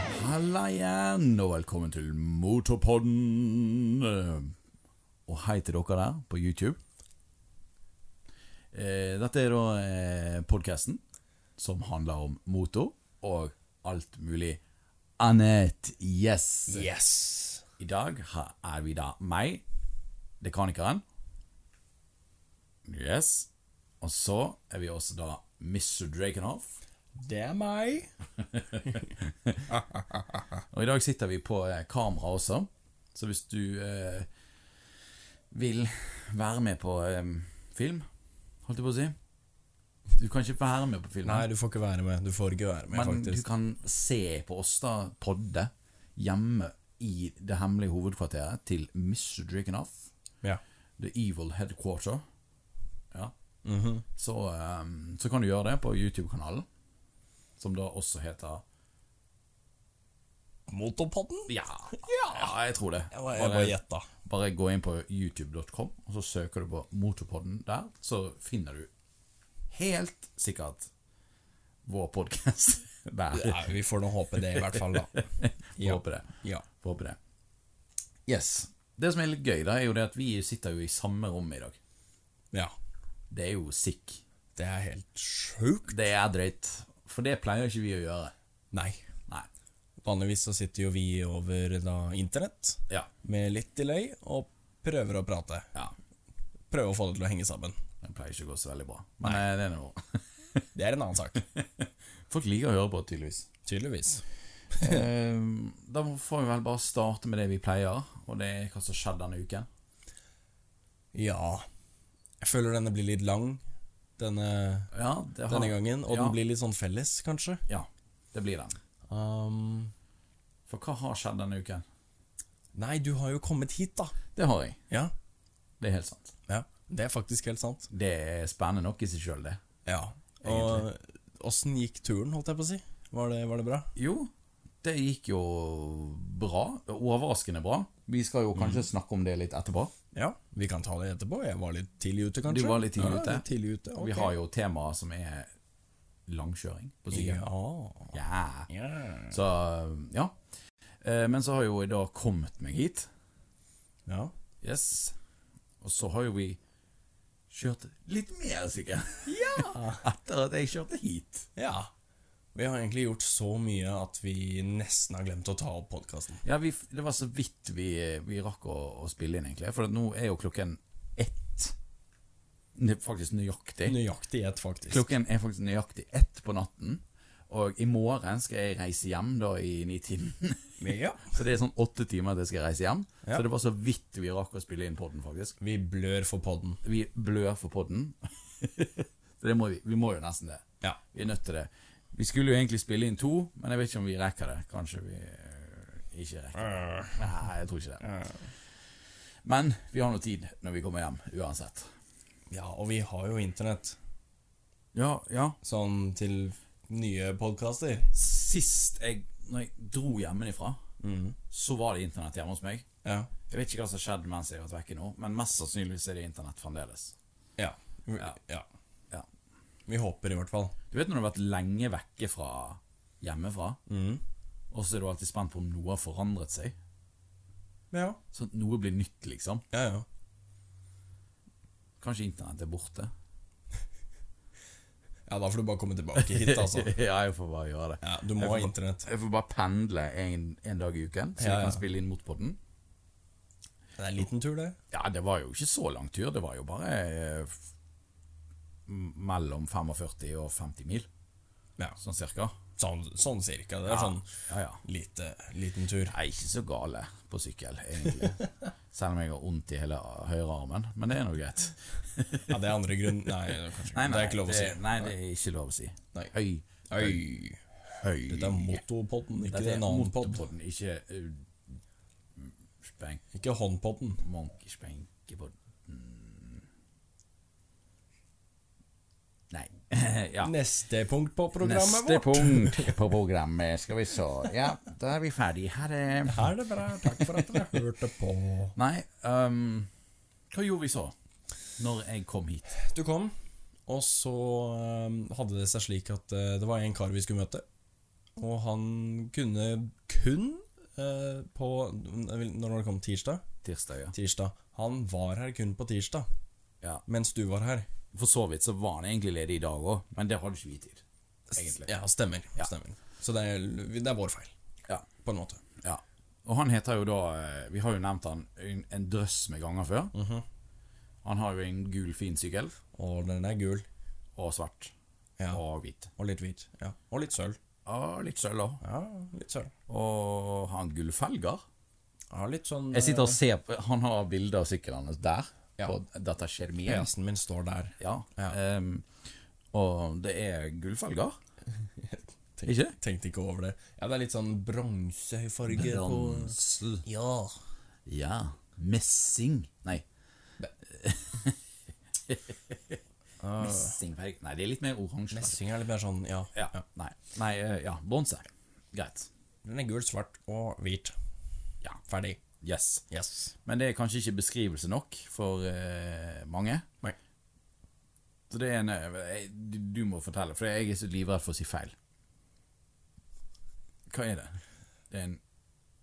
deg igjen, og velkommen til Motorpodden. Og hei til dere der på YouTube. Eh, Dette er da eh, podkasten som handler om motor og alt mulig annet. Yes. Yes. I dag har- er vi da meg, dekanikeren. Yes. Og så er vi også da Mr. Drakenhoff. Det er meg. Og i dag sitter vi på eh, kamera også, så hvis du eh, vil være med på eh, film, holdt jeg på å si Du kan ikke være med på filmen, Nei, du får ikke være med. Du får ikke være med, men du faktisk. kan se på oss, da, podde, hjemme i det hemmelige hovedkvarteret til Mr. Drakenoff, Ja. The Evil Headquarter. Ja. Mhm. så, eh, så kan du gjøre det på YouTube-kanalen, som da også heter Motorpodden? Ja, ja jeg tror det. Jeg bare, jeg bare gjetta. Bare gå inn på youtube.com, og så søker du på Motorpodden der, så finner du helt sikkert vår podkast der. Nei, Vi får nå håpe det, i hvert fall, da. Får håpe det. Ja. Får håpe det. Yes. Det som er litt gøy, da, er jo det at vi sitter jo i samme rom i dag. ja. Det er jo sick. Det er helt sjukt. Det er drøyt. For det pleier ikke vi å gjøre. Nei. Nei. Vanligvis så sitter jo vi over da internett Ja. med litt delay og prøver å prate. ja. Prøver å få det til å henge sammen. Det pleier ikke å gå så veldig bra. Men eh, det er noe. Det er en annen sak. Folk liker å høre på, tydeligvis. Tydeligvis. Eh, Da får vi vel bare starte med det vi pleier, og det er hva som skjedde denne uken. Ja. Jeg føler denne blir litt lang, denne, Ja, det har, denne gangen. Og ja, den blir litt sånn felles, kanskje. Ja, det blir den. Um, For hva har skjedd denne uken? Nei, du har jo kommet hit, da. Det har jeg. Ja. Det er helt sant. Det er faktisk helt sant. Det er spennende nok i seg sjøl, det. Ja. Og åssen gikk turen, holdt jeg på å si? Var det, var det bra? Jo, det gikk jo bra. Overraskende bra. Mm. Vi skal jo kanskje snakke om det litt etterpå. Ja. Vi kan ta det etterpå. Jeg var litt tidlig ute, kanskje. Du var litt tidlig Ja, ute. litt tidlig ute. ok. Vi har jo temaer som er langkjøring på sykkel. Ja. Ja. ja. Så ja. Eh, Men så har jo jeg da kommet meg hit. ja. Yes. Og så har jo vi kjørt litt mer, sikkert. Ja! Etter at jeg kjørte hit. Ja. Vi har egentlig gjort så mye at vi nesten har glemt å ta opp podkasten. Ja, vi, Det var så vidt vi, vi rakk å, å spille inn, egentlig. For at nå er jo klokken ett. Nø- Faktisk nøyaktig. Nøyaktig ett, faktisk. Klokken er faktisk nøyaktig ett på natten. Og i morgen skal jeg reise hjem da i nitiden. Ja. Så det er sånn åtte timer til jeg skal reise hjem. Ja. Så det var så vidt vi rakk å spille inn podden, faktisk. Vi blør for podden. Vi blør for podden. så det må vi. Vi må jo nesten det. Ja. Vi er nødt til det. Vi skulle jo egentlig spille inn to, men jeg vet ikke om vi rekker det. Kanskje vi øh, ikke rekker det. Nei, jeg tror ikke det. Men vi har nå tid når vi kommer hjem, uansett. ja, og vi har jo internett. Ja, ja. Sånn til nye podkaster. Sist jeg, når jeg dro hjemmefra, Mm. så var det internett hjemme hos meg. Ja. Jeg vet ikke hva som har skjedd mens jeg har vært vekke nå, men mest sannsynligvis er det internett fremdeles. Ja. Vi- Ja. ja. Ja. Vi håper i hvert fall. Du vet når du har vært lenge vekke fra hjemmefra, Mm. og så er du alltid spent på om noe har forandret seg. Ja. Sånn at noe blir nytt, liksom. Ja, ja. Kanskje internett er borte. Ja, da får du bare komme tilbake hit, altså. ja, jeg får bare gjøre det. Ja, du må Jeg får ha bare- internett. Jeg får bare pendle en, en dag i uken, så Ja, jeg ja. kan spille inn mot podden. Det er en liten tur, det. Ja, det var jo ikke så lang tur, det var jo bare eh, f- m- mellom 45 og 50 mil, Ja. sånn cirka. Sånn, sånn cirka. Det er sånn Ja, ja. lite, liten tur. Jeg er ikke så gale på sykkel, egentlig. Selv om jeg har vondt i hele høyrearmen, men det er nå greit. Ja, det er andre grunn Nei, det er kanskje ikke. det er ikke lov å si. Nei, det er ikke lov å si. Nei. Høy, Oi. høy. Dette er motorpodden, ikke Dette er en annen podd. motorpodden, ikke uh, spenk, Ikke håndpodden. monk, spenkepodden. Mm. Nei. ja. Neste punkt på programmet Neste vårt. punkt på programmet, skal vi se. Ja, da er vi ferdig. Ha det. Er det bra? Takk for at dere hørte på. Nei, ehm, hva gjorde vi så? Når jeg kom hit. Du ehm, kom, og så eh, hadde det seg slik at eh, det var en kar vi skulle møte. Og han kunne kun eh, på Når var det kom tirsdag? Tirsdag, ja. Tirsdag. Han var her kun på tirsdag, ja. mens du var her. For så vidt så var han egentlig ledig i dag òg, men det hadde ikke vi tid. Egentlig. Ja, stemmer. stemmer. Så det er, det er vår feil, Ja. på en måte. ja. Og han heter jo da eh, Vi har jo nevnt han en, en drøss med ganger før. Mhm. Han har jo en gul, fin sykkel, Og den er gul. og svart, Ja. og hvit. Og litt hvit. Ja. Og litt sølv. Og litt sølv òg. Ja, litt sølv. Og har han gullfelger? Ja, litt sånn Jeg sitter og ser på Han har bilde av sykkelen hans der, Ja. på dataskjermen. eh, Peisen min står der. Ja. Ja. ehm, og det er gullfelger. Ikke? Tenkte ikke over det. Ja, det er litt sånn bronsefarge på Bronse. Ja. Ja. Messing. Nei. Messingfelg Nei, det er litt mer oransje. Ah. Messing er litt mer sånn, ja. Ja. Nei, Nei eh, ja. Bronse. Greit. Den er gul, svart og hvit. Ja. Ferdig. Yes. Yes. Men det er kanskje ikke beskrivelse nok for eh, mange. Nei. Så det er en eh, du- Du må fortelle, for jeg er så livredd for å si feil. Hva er det? Det er en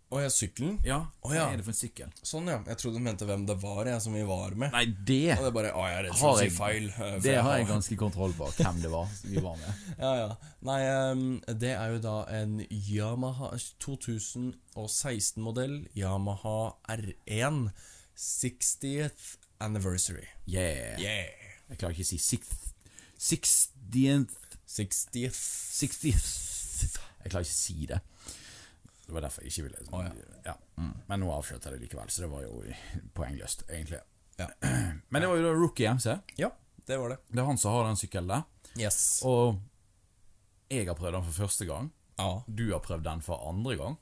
Og jeg sykkelen. Ja, Å, ja. hva er det for en sykkel? Sånn, ja. Jeg trodde du mente hvem det var jeg som vi var med. Nei, det Og det er bare Å, jeg er redd for har å si jeg, feil. eh, for det har jeg har- ganske kontroll på, hvem det var vi var med. Ja, ja. Nei, em, det er jo da en Yamaha 2016-modell Yamaha R1 60th anniversary. Yeah. Yeah. Jeg klarer ikke å si sixth, sixtieth 60th. sixtieth Jeg klarer ikke å si det. Det var derfor jeg ikke ville Å, ja. Men nå avslørte jeg det likevel, så det var jo poengløst, egentlig. Ja. Men det var jo da Rookie MC. ja, det var det. Det er han som har den sykkelen der. Yes. Og jeg har prøvd den for første gang. ja. Du har prøvd den for andre gang.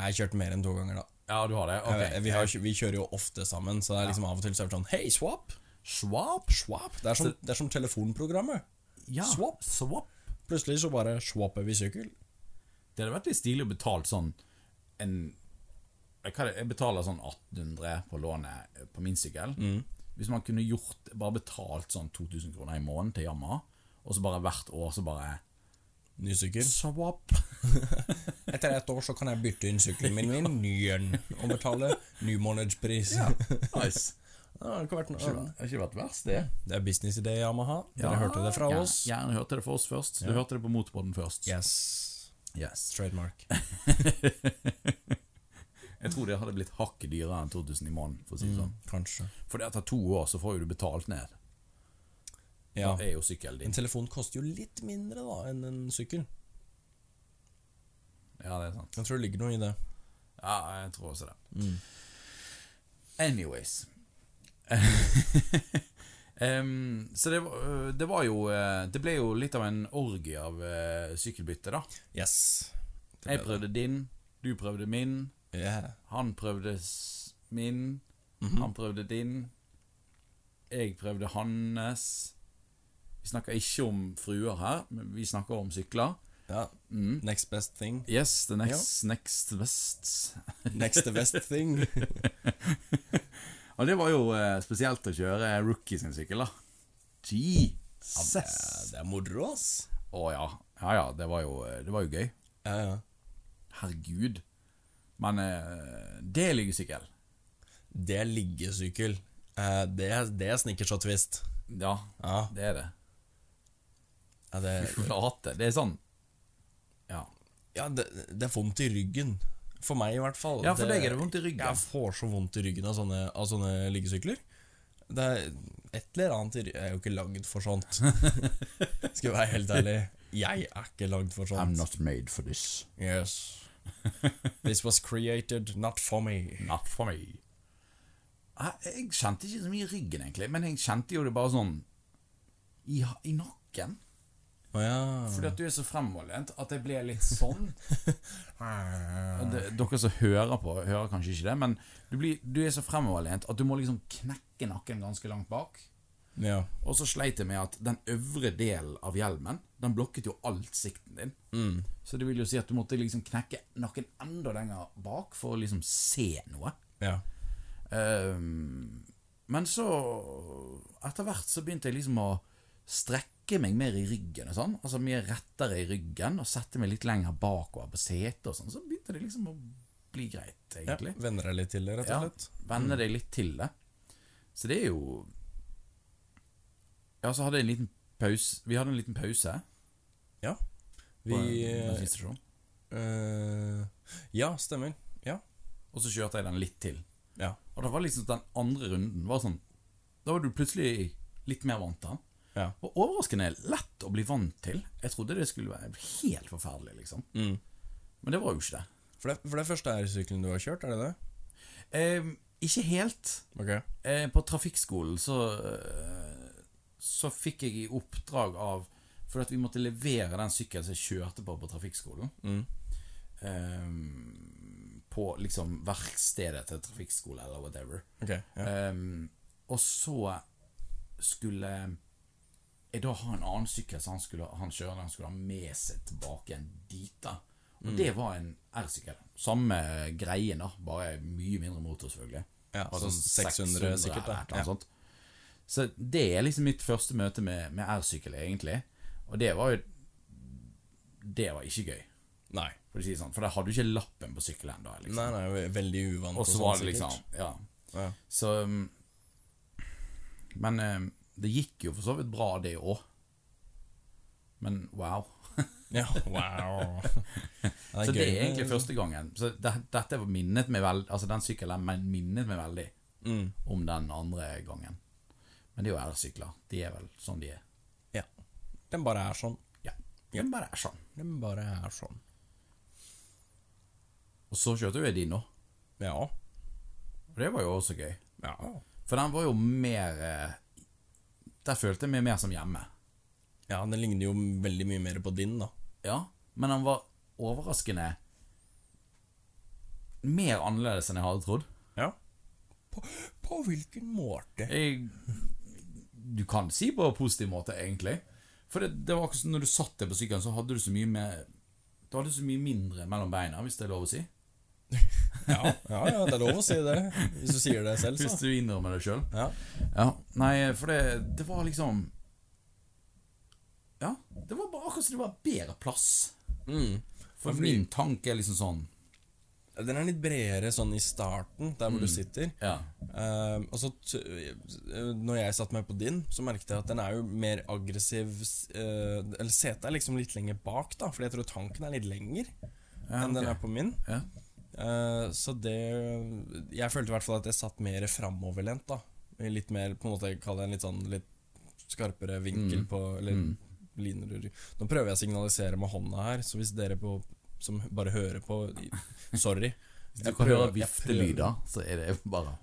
Jeg har kjørt mer enn to ganger, da. Ja, du har det? Jeg- Ok. Vi, har, vi kjører jo ofte sammen, så det er liksom av og til så er det sånn Hei, swap! Swap? Swap! Det er som, det er som telefonprogrammet. Ja. Swap. Swap. Plutselig så bare swapper vi sykkel. Det hadde vært litt stilig å betale sånn en jeg, kan, jeg betaler sånn 1800 på lånet eh, på min sykkel. Hvis man kunne gjort bare betalt sånn 2000 kroner i måneden til Yamaha, og så bare hvert år så bare Ny sykkel. Swap. Etter ett år så kan jeg bytte inn sykkelen min med en ny en og betale ny månedspris. Ja, nice. Ja, det, kan Det være noe. har ikke vært verst, det. det er businessidé, Yamaha. Dere hørte det fra Ja, oss. Gjerne hørte det fra oss først. Du hørte det på Motorpodden først. Yes. Yes. Trademark. Jeg tror det hadde blitt hakket dyrere enn 2000 i måneden. For å si Mm. det sånn Kanskje. For det etter to år så får jo du betalt ned. Ja. Det er jo sykkelen En din. telefon koster jo litt mindre da enn en sykkel. Ja, det er sant. Jeg tror det ligger noe i det. Ja, jeg tror også det. Mm. Anyways. Em, så det, var- øh, det var jo eh, Det ble jo litt av en orgie av eh, sykkelbytte, da. Yes. Jeg prøvde din, du prøvde min, Yeah. han prøvde s- min, han prøvde din, jeg prøvde hans. Vi snakker ikke om fruer her, men vi snakker om sykler. Mm. Ja. Next best thing. Yes, the next, next best. Next the best thing. Og det var jo eh, spesielt å kjøre rookie sin sykkel, da. Jesus! det er moro, ass. Å ja. Ja ja, det var jo, eh, det var jo gøy. Ja, ja. Herregud. Men eh, det er liggesykkel. Det er liggesykkel. Eh, Det er, det er snickers og twist. Ja, Ja, det er det. ja, det, Flate. Det er sånn Ja. ja det, det er vondt i ryggen. For meg, i hvert fall. Ja, for deg er det vondt i ryggen. Jeg får så vondt i ryggen av sånne, av sånne liggesykler. Det er et eller annet i ry- Jeg er jo ikke lagd for sånt. Skal jeg være helt ærlig. Jeg er ikke lagd for sånt. not made for this. Yes. This was created not for me. Not for me. Jeg, jeg kjente ikke så mye i ryggen, egentlig, men jeg kjente jo det bare sånn i, i nakken. Å Fordi at du er så fremoverlent at jeg ble litt sånn. Ja, det, dere som hører på, hører kanskje ikke det, men du, blir, du er så fremoverlent at du må liksom knekke nakken ganske langt bak. ja. Og så sleit jeg med at den øvre delen av hjelmen Den blokket jo alt sikten din. Mm. Så det vil jo si at du måtte liksom knekke nakken enda lenger bak for å liksom se noe. Ja. Ehm, men så Etter hvert så begynte jeg liksom å strekke strekker meg mer i ryggen og sånn, altså mye rettere i ryggen, og setter meg litt lenger bakover på setet og sånn, så begynte det liksom å bli greit, Ja, Mm. egentlig. Venner deg litt til det, rett Ja, og slett. Venne deg litt til det. Så det er jo Ja, så hadde jeg en liten pause Vi hadde en liten pause Ja. på en Vi eh, bensinstasjon, eh, Ja, stemmer. Ja. og så kjørte jeg den litt til. Ja. Og da var liksom den andre runden var sånn Da var du plutselig litt mer vant til den. Ja. Og overraskende lett å bli vant til. Jeg trodde det skulle være helt forferdelig, liksom. Mm. Men det var jo ikke det. For, det, for det er første R-sykkelen du har kjørt, er det det? Eh, ikke helt. Ok. Eh, på trafikkskolen så eh, Så fikk jeg i oppdrag av For at vi måtte levere den sykkelen som jeg kjørte på på trafikkskolen. Mm. eh, på liksom verkstedet til trafikkskole eller whatever. Ok, ja. Ehm, og så skulle jeg da ha en annen sykkel som han, skulle, han kjørende han skulle ha med seg tilbake igjen dit. da Og Mm. det var en R-sykkel. Samme greien, da, bare mye mindre motor, selvfølgelig. ja Altså så 600 sikkert, eller da. et eller Ja. annet sånt. Så det er liksom mitt første møte med, med R-sykkel, egentlig. Og det var jo Det var ikke gøy, Nei. for å si det sånn. For da hadde du ikke lappen på sykkelen da. Liksom. Nei, nei, ve- veldig uvant. Og så sånn var det sikkert. liksom Ja. ja. Så um, Men um, det gikk jo for så vidt bra, det òg. Men wow. ja, wow. Ja, så det gøy er med- egentlig første gangen. Så det, dette minnet meg veldig Altså den sykkelen men- minnet meg veldig mm. om den andre gangen. Men det er jo R-sykler. De er vel sånn de er. Ja. Den bare er sånn. Ja. Den bare er sånn. Den bare er sånn. Og så kjørte jo jeg din nå. Ja. Og det var jo også gøy. Ja. For den var jo mer eh, Der følte jeg meg mer som hjemme. Ja, den ligner jo veldig mye mer på din, da. Ja, men han var overraskende mer annerledes enn jeg hadde trodd. Ja. På, på hvilken måte? Jeg, du kan si på en positiv måte, egentlig. For det, det var akkurat som når du satt deg på sykkelen, så hadde du så mye mer Du hadde så mye mindre mellom beina, hvis det er lov å si. Ja, ja, ja, det er lov å si det. Hvis du sier det selv, Hvis så. du innrømmer det sjøl. Ja. Ja, nei, for det, det var liksom Ja, det var bare akkurat som det var bedre plass. Mm. For Ja, fordi- min tanke er liksom sånn Den er litt bredere sånn i starten, der hvor du sitter. Ja. Ehm, og så t Når jeg satte meg på din, så merket jeg at den er jo mer aggressiv s- eh, Eller setet er liksom litt lenger bak, da, fordi jeg tror tanken er litt lenger Ja, enn den ok. er på min. ja. Eh, så det Jeg følte i hvert fall at jeg satt mer framoverlent, da. I Litt mer, på en måte, jeg kaller det en litt sånn litt skarpere Mm. vinkel på Eller liner Nå prøver jeg å signalisere med hånda her, så hvis dere på, som bare hører på i- Sorry. Hvis Jeg du kan prøver- høre jeg viftelyder, så er det bare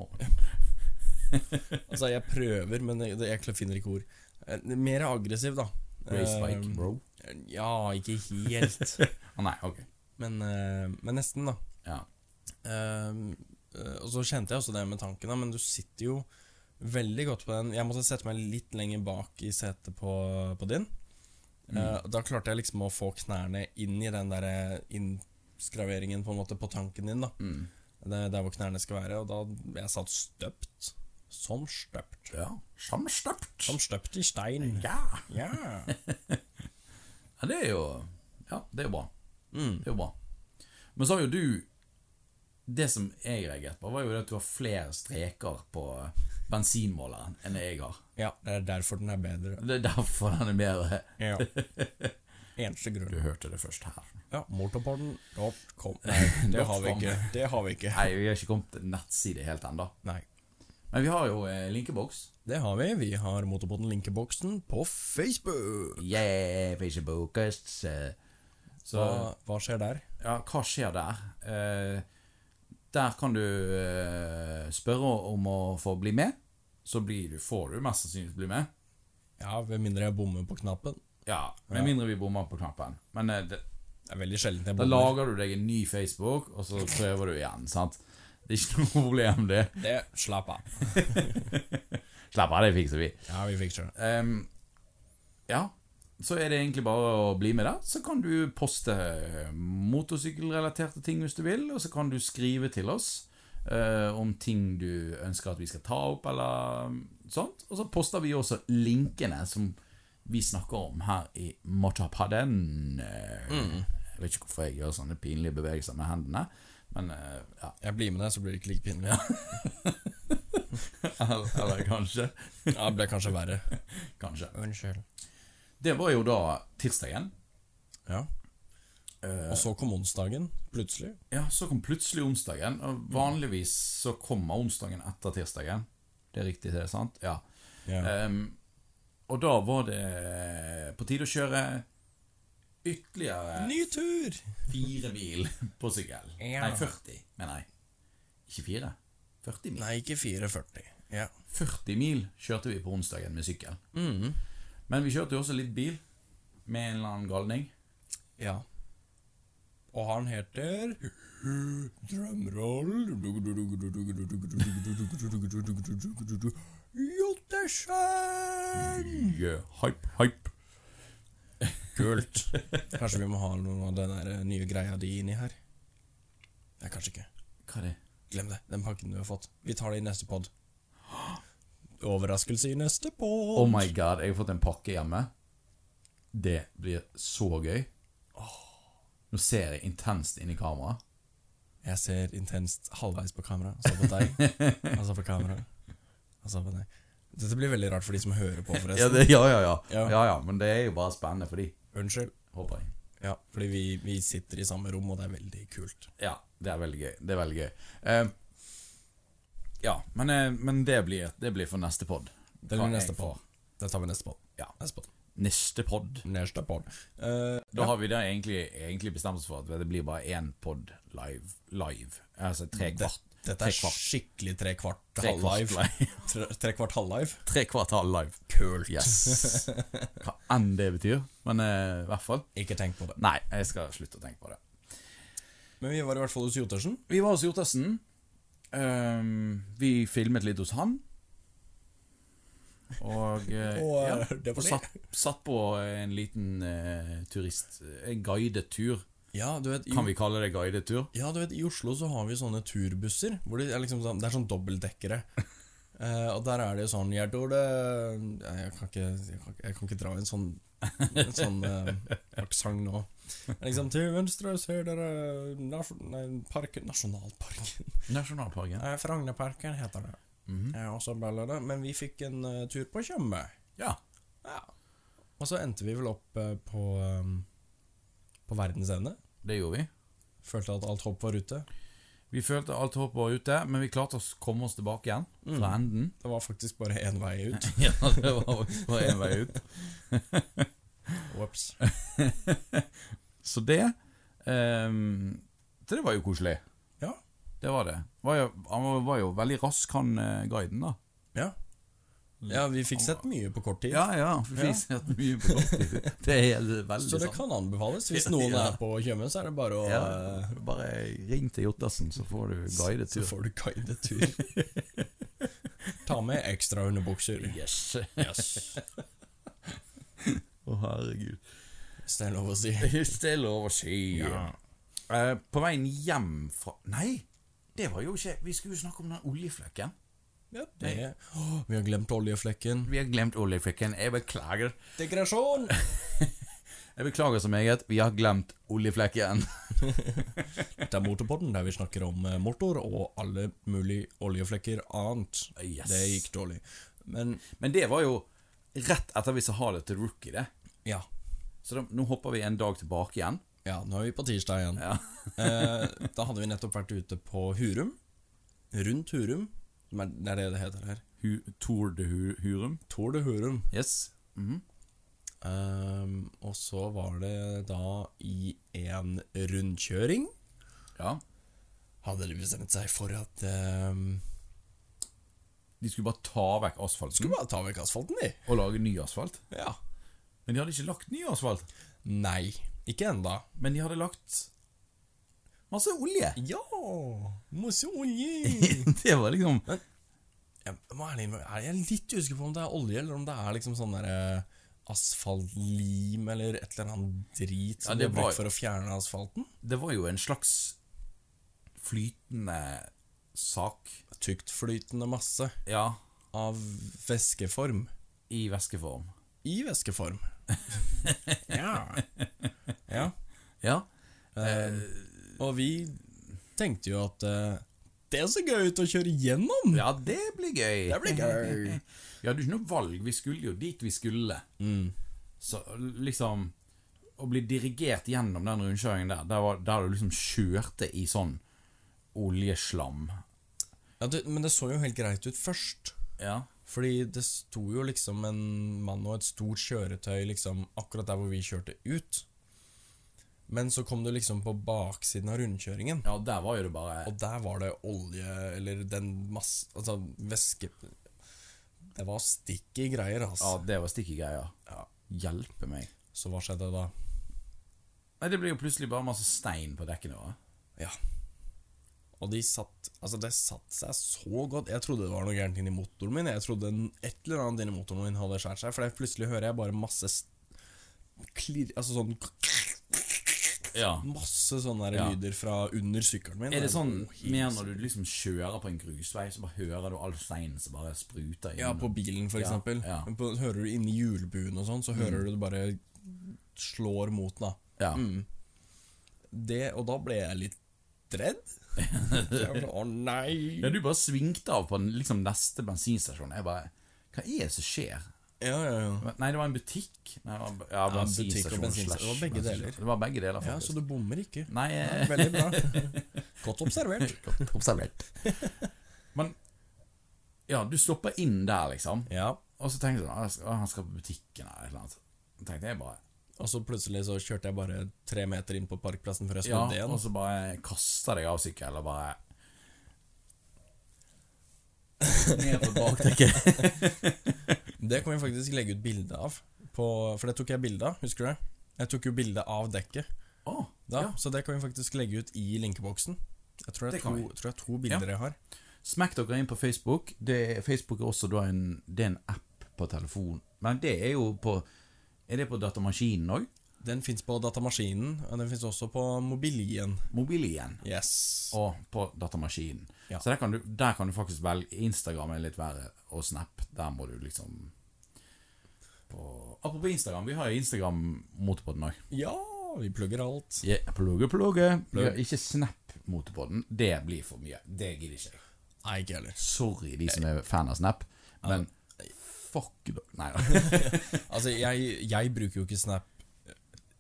Altså, jeg prøver, men jeg, jeg finner ikke ord. Eh, Mer aggressiv, da. race bike, Eh, bro. Ja, ikke helt, Ehm, Å nei, ok. men, eh, men nesten, da. Ja. Ehm, eh, og så kjente jeg også det med tanken, da, men du sitter jo veldig godt på den. Jeg måtte sette meg litt lenger bak i setet på, på din. Mm. Eh, og da klarte jeg liksom å få knærne inn i den der innskraveringen på en måte på tanken din, da. Mm. Det, der hvor knærne skal være. Og da jeg satt støpt. Som støpt. ja. Samstøpt. Som støpt i stein. Ja. Ja. ja, det er jo Ja, det er jo bra. Mm. Det er jo bra. Men så har jo du Det som jeg reagerte på, var jo det at du har flere streker på eh, bensinmåleren enn jeg har. ja. Det er derfor den er bedre. Det er derfor den er mer eh, Ja. Eneste grunn. Du hørte det først her. Ja, motorpodden.com. Nei, det har vi ikke. Det har vi ikke. Nei, vi har ikke kommet til nettside helt ennå. Nei. Men vi har jo eh, linkeboks. Det har vi. Vi har Motorpodden Linkeboksen på Facebook. Yeah, Facebook-us. eh. Så Hva, hva skjer der? Ja, hva skjer der? Eh, der kan du eh, spørre om å få bli med. Så blir du, får du mest sannsynlig bli med. Ja, Med mindre jeg bommer på knappen. Ja, Med mindre vi bommer på knappen. Men eh, det, Det er veldig sjelden jeg da bommer. lager du deg en ny Facebook, og så prøver du igjen. sant? Det er ikke noe problem, det. Det Slapp av. Slapp av, det fikser vi. Ja, vi fikser det. Ehm, ja, så er det egentlig bare å bli med der. Så kan du poste motorsykkelrelaterte ting hvis du vil, og så kan du skrive til oss eh, om ting du um, ønsker at vi skal ta opp, eller sånt. Og så poster vi også linkene som vi snakker om her i Motapaden. Eh, Mm. Jeg vet ikke hvorfor jeg gjør sånne pinlige bevegelser med hendene, men eh, ja. Jeg blir med deg, så blir det ikke like pinlig. Eller kanskje. Ja, det ble kanskje verre. Kanskje. Unnskyld. Det var jo da tirsdagen. Ja. Eh, Og så kom onsdagen, plutselig. ja, så kom plutselig onsdagen, og vanligvis så kommer onsdagen etter tirsdagen. Det er riktig, det er sant? Ja. Ja. Ehm, og da var det eh, på tide å kjøre ytterligere Ny tur! fire mil på sykkel. Ja. Nei, 40, mener jeg. Ikke fire. 40 mil. Nei, ikke 4,40. Ja. 40 mil kjørte vi på onsdagen med sykkel. Mm. Men vi kjørte jo også litt bil med en eller annen galning. ja. Og han heter Drømroll Jottesen! Yeah, hype, hype. Kult. Kanskje vi må ha noe av den der nye greia di inni her? Nei, kanskje ikke. Hva er det? Glem det. Den pakken du har fått. Vi tar det i neste pod. Overraskelse i neste pod. Oh my god, jeg har fått en pakke hjemme. Det blir så gøy. Nå ser jeg intenst inn i kameraet. Jeg ser intenst halvveis på kamera, så på deg, og så på kamera, og så på deg. Dette blir veldig rart for de som hører på, forresten. Ja, det, ja, ja, ja. Ja. ja, ja. Men det er jo bare spennende for de, Unnskyld. håper jeg. Ja, fordi vi, vi sitter i samme rom, og det er veldig kult. Ja, det er veldig gøy. Det er veldig gøy. Eh, ja, men, eh, men det, blir, det blir for neste pod. Det blir neste pod. Det tar vi neste pod. Ja. Neste pod. Neste pod. Neste pod. Eh, Da har vi da egentlig, egentlig bestemt oss for at det blir bare én pod live. live. Altså tre det, kvart. dette Tre er kvart. skikkelig tre kvart Tre kvart halv-live. Tre tre kvart halv-live? Tre kvart halv live. Kult. Yes. Hva enn det betyr. Men eh, i hvert fall Ikke tenk på det. Nei, jeg skal slutte å tenke på det. Men vi var i hvert fall hos Jotersen. Vi var hos Hjortassen. Ehm, vi filmet litt hos han. Og, eh, Og, ja, eh, det var og det. satt, satt på en liten eh, turist... En guidetur. Ja, du vet, i- Kan vi kalle det guidetur? Ja, du vet, I Oslo så har vi sånne turbusser. Hvor Det er liksom sånn, det er sånn dobbeltdekkere. Eh, og der er det jo sånn Jeg tror det Nei, jeg, kan ikke, jeg, kan, ikke- jeg kan ikke dra en sånn En sånn uh, aksent nå. Men Liksom, til venstre ser dere nasjon, nei, parken, Nasjonalparken. Nasjonalparken. Eh, Frognerparken heter det. Mhm. Eh, og så bla, bla, bla. Men vi fikk en eh, tur på Tjøme. Ja. Ja. Og så endte vi vel opp eh, på, eh, på verdensende. Det gjorde vi. Følte at alt håp var ute. Vi følte alt håp var ute, men vi klarte å s- komme oss tilbake igjen fra enden. Det var faktisk bare én vei ut. Mm. Ja, det var faktisk bare én vei ut. Whoops. Så det ehm, Så det var jo koselig. Ja. Det var det. Var jo, han var- var jo veldig rask, han eh, guiden, da. Ja. ja, vi fikk sett mye på kort tid. Ja, ja. Vi Ja. ser mye på kort tid. Det er veldig Så det sant. kan anbefales. Hvis noen Ja. er på Tjøme, så er det bare å Ja, eh, bare ring til Jottassen, så får du guidet Så tur. får du guidet tur. Ta med ekstra underbukser. Yes. Yes. Å, herregud. Hvis det er lov å si. Hvis det er lov å si. Ja. Eh, på veien hjem fra Nei, det var jo ikke Vi skulle jo snakke om den oljeflekken. Ja, det. Åh, vi har glemt oljeflekken. Vi har glemt oljeflekken. Jeg beklager. Digresjon! Jeg beklager så meget. Vi har glemt oljeflekken. Det er Motorpodden, der vi snakker om eh, motor og alle mulige oljeflekker annet. Yes. Det gikk dårlig. Men Men det var jo rett etter vi sa ha det til rookie, det. ja. Så da, nå hopper vi en dag tilbake igjen. Ja, nå er vi på tirsdag igjen. Ja. Eh, da hadde vi nettopp vært ute på Hurum. Rundt Hurum. som er- Det er det det heter her. Hu, Tour de Hu, Hurum. Tour de Hurum. Yes. Mhm. Ehm, og så var det da i en rundkjøring Ja. Hadde de bestemt seg for at ehm, De skulle bare ta vekk asfalten Skulle bare ta vekk asfalten, de. og lage ny asfalt. Ja. Men de hadde ikke lagt ny asfalt. Nei. Ikke enda. Men de hadde lagt masse olje. Ja! Masse olje! det var liksom Jeg må ærlig innrømme, er- jeg er litt usikker på om det er olje, eller om det er liksom sånn der eh, asfaltlim, eller et eller annet drit som Ja, det blir brukt var- for å fjerne asfalten. Det var jo en slags flytende sak. Tyktflytende masse Ja, av væskeform i væskeform. i i væskeform. ja. ja. Ja. Eh, og vi tenkte jo at eh, det så gøy ut å kjøre gjennom! ja, det blir gøy. Det blir gøy. Vi hadde jo ikke noe valg. Vi skulle jo dit vi skulle. Så liksom Å bli dirigert gjennom den rundkjøringen der, der, var, der du liksom kjørte i sånn oljeslam Ja, det, men det så jo helt greit ut først. Ja. Fordi det sto jo liksom en mann og et stort kjøretøy liksom akkurat der hvor vi kjørte ut. Men så kom du liksom på baksiden av rundkjøringen, ja, der var jo det bare og der var det olje eller den masse Altså væske Det var sticky greier, Ja, altså. det var stikke greier. Ja. Hjelpe meg. Så hva skjedde da? Nei, Det ble jo plutselig bare masse stein på dekkene våre. Ja. Og de satt Altså, det satt seg så godt. Jeg trodde det var noe gærent inni motoren min. Jeg trodde en- et eller annet inni motoren min hadde skåret seg, for jeg- plutselig hører jeg bare masse s- klirr Altså sånn Ja. Masse sånne der Ja. lyder fra under sykkelen min. Er det sånn Oh, helt mer når du liksom kjører på en grusvei, så bare hører du all steinen som bare spruter inn? Ja, på bilen, for Ja, eksempel. ja. Mm. På, hører du inni hjulbuen og sånn, så hører du det bare slår mot den. da. Ja. Det, og da ble jeg litt redd. Jeg ble, Å nei! ja, du bare svingte av på den liksom neste bensinstasjon. Jeg bare Hva er det som skjer? Ja, ja, ja. Nei, det var en butikk. Nei, det var, ja, butikk og bensinstasjon. bensinstasjon. slash Det var begge bensinstasjon. deler. Det var begge deler, ja så faktisk. du bommer ikke. Nei, eh, Ja, Veldig bra. Godt observert. observert. Men Ja, du stopper inn der, liksom. Ja, Og så tenkte jeg sånn «Ah, jeg skal- ah, Han skal på butikken eller et eller annet. Så tenkte jeg bare og så plutselig så kjørte jeg bare tre meter inn på parkplassen før jeg Ja, snudde igjen. og så bare kaster deg av sykkelen og bare Ned på bakdekket. Det kan vi faktisk legge ut bilde av, på, for det tok jeg bilde av, husker du det? Jeg tok jo bilde av dekket Å, da, ja. så det kan vi faktisk legge ut i linkeboksen. Jeg tror det Det er kan to, tror jeg er to bilder jeg har. Smekk dere inn på Facebook. Det, Facebook er også da en, det er en app på telefon. Men det er jo på Er det på datamaskinen òg? Den fins på datamaskinen, og den fins også på mobilien. Mobilen. Yes. og på datamaskinen. Ja. Så der kan, du, der kan du faktisk velge Instagram er litt verre, og Snap. Der må du liksom på, Apropos Instagram, vi har jo Instagram motorpodden òg. Ja, vi plugger alt. Plugge, plugge. Vi har ikke Snap motorpodden. Det blir for mye. Det gidder ikke jeg. Nei, ikke heller. Sorry, de som er fan av Snap, men fuck dere. Nei da. Altså, jeg, jeg bruker jo ikke Snap eh,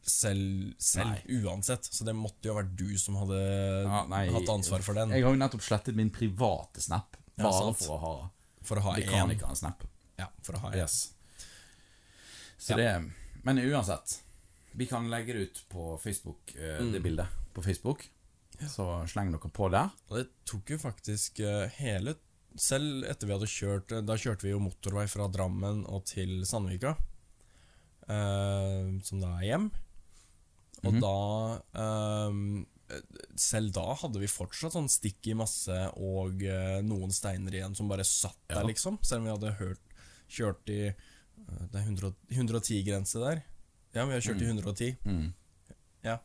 selv, selv uansett, så det måtte jo ha vært du som hadde Ja, nei, hatt ansvar for den. Jeg har jo nettopp slettet min private Snap Ja, bare sant. for å ha for å ha én. Dekanikeren-snap. Ja, for å ha en. Yes. Så det Men uansett. Vi kan legge det ut på Facebook, eh, Mm. det bildet på Facebook. Så sleng dere på der. Og det tok jo faktisk eh, hele Selv etter vi hadde kjørt eh, Da kjørte vi jo motorvei fra Drammen og til Sandvika, eh, som da er hjem. Og Mhm. da eh, Selv da hadde vi fortsatt sånn stikk i masse og eh, noen steiner igjen som bare satt der, Ja. liksom. Selv om vi hadde hørt, kjørt i eh, Det er 110-grense der. Ja, vi har kjørt i 110. Mm. Ja.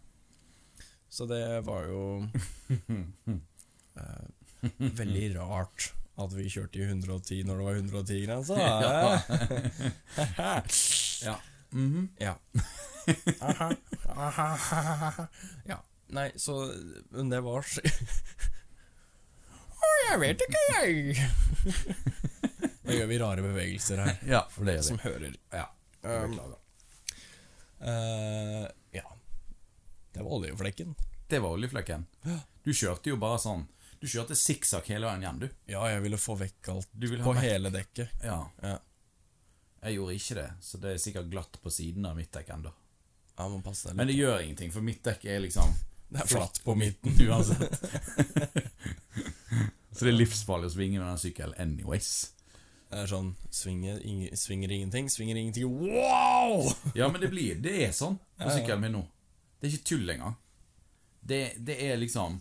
Så det var jo eh, Veldig rart at vi kjørte i 110 når det var 110-grensa. Eh, Ja. Mhm. ja. ja. Nei, så Men det var så Å, Jeg vet ikke, jeg. Nå gjør vi rare bevegelser her, ja, for det gjør som vi. hører. Ja. Um, Beklager. eh, ja. Det var oljeflekken. Det var oljeflekken. Du kjørte jo bare sånn Du kjørte sikksakk hele veien hjem, du. Ja, jeg ville få vekk alt Du ville ha på vekk- hele dekket. Ja. Ja. Jeg gjorde ikke det, så det er sikkert glatt på siden av midtdekk ennå. Ja, man passer seg Men litt. det gjør ingenting, for midtdekk er liksom Det er flatt på midten. Uansett. så det er livsfarlig å svinge med den sykkelen anyways. Det er sånn svinger, ing, svinger ingenting, svinger ingenting Wow! Ja, men det blir Det er sånn på sykkelen min nå. Det er ikke tull engang. Det, det er liksom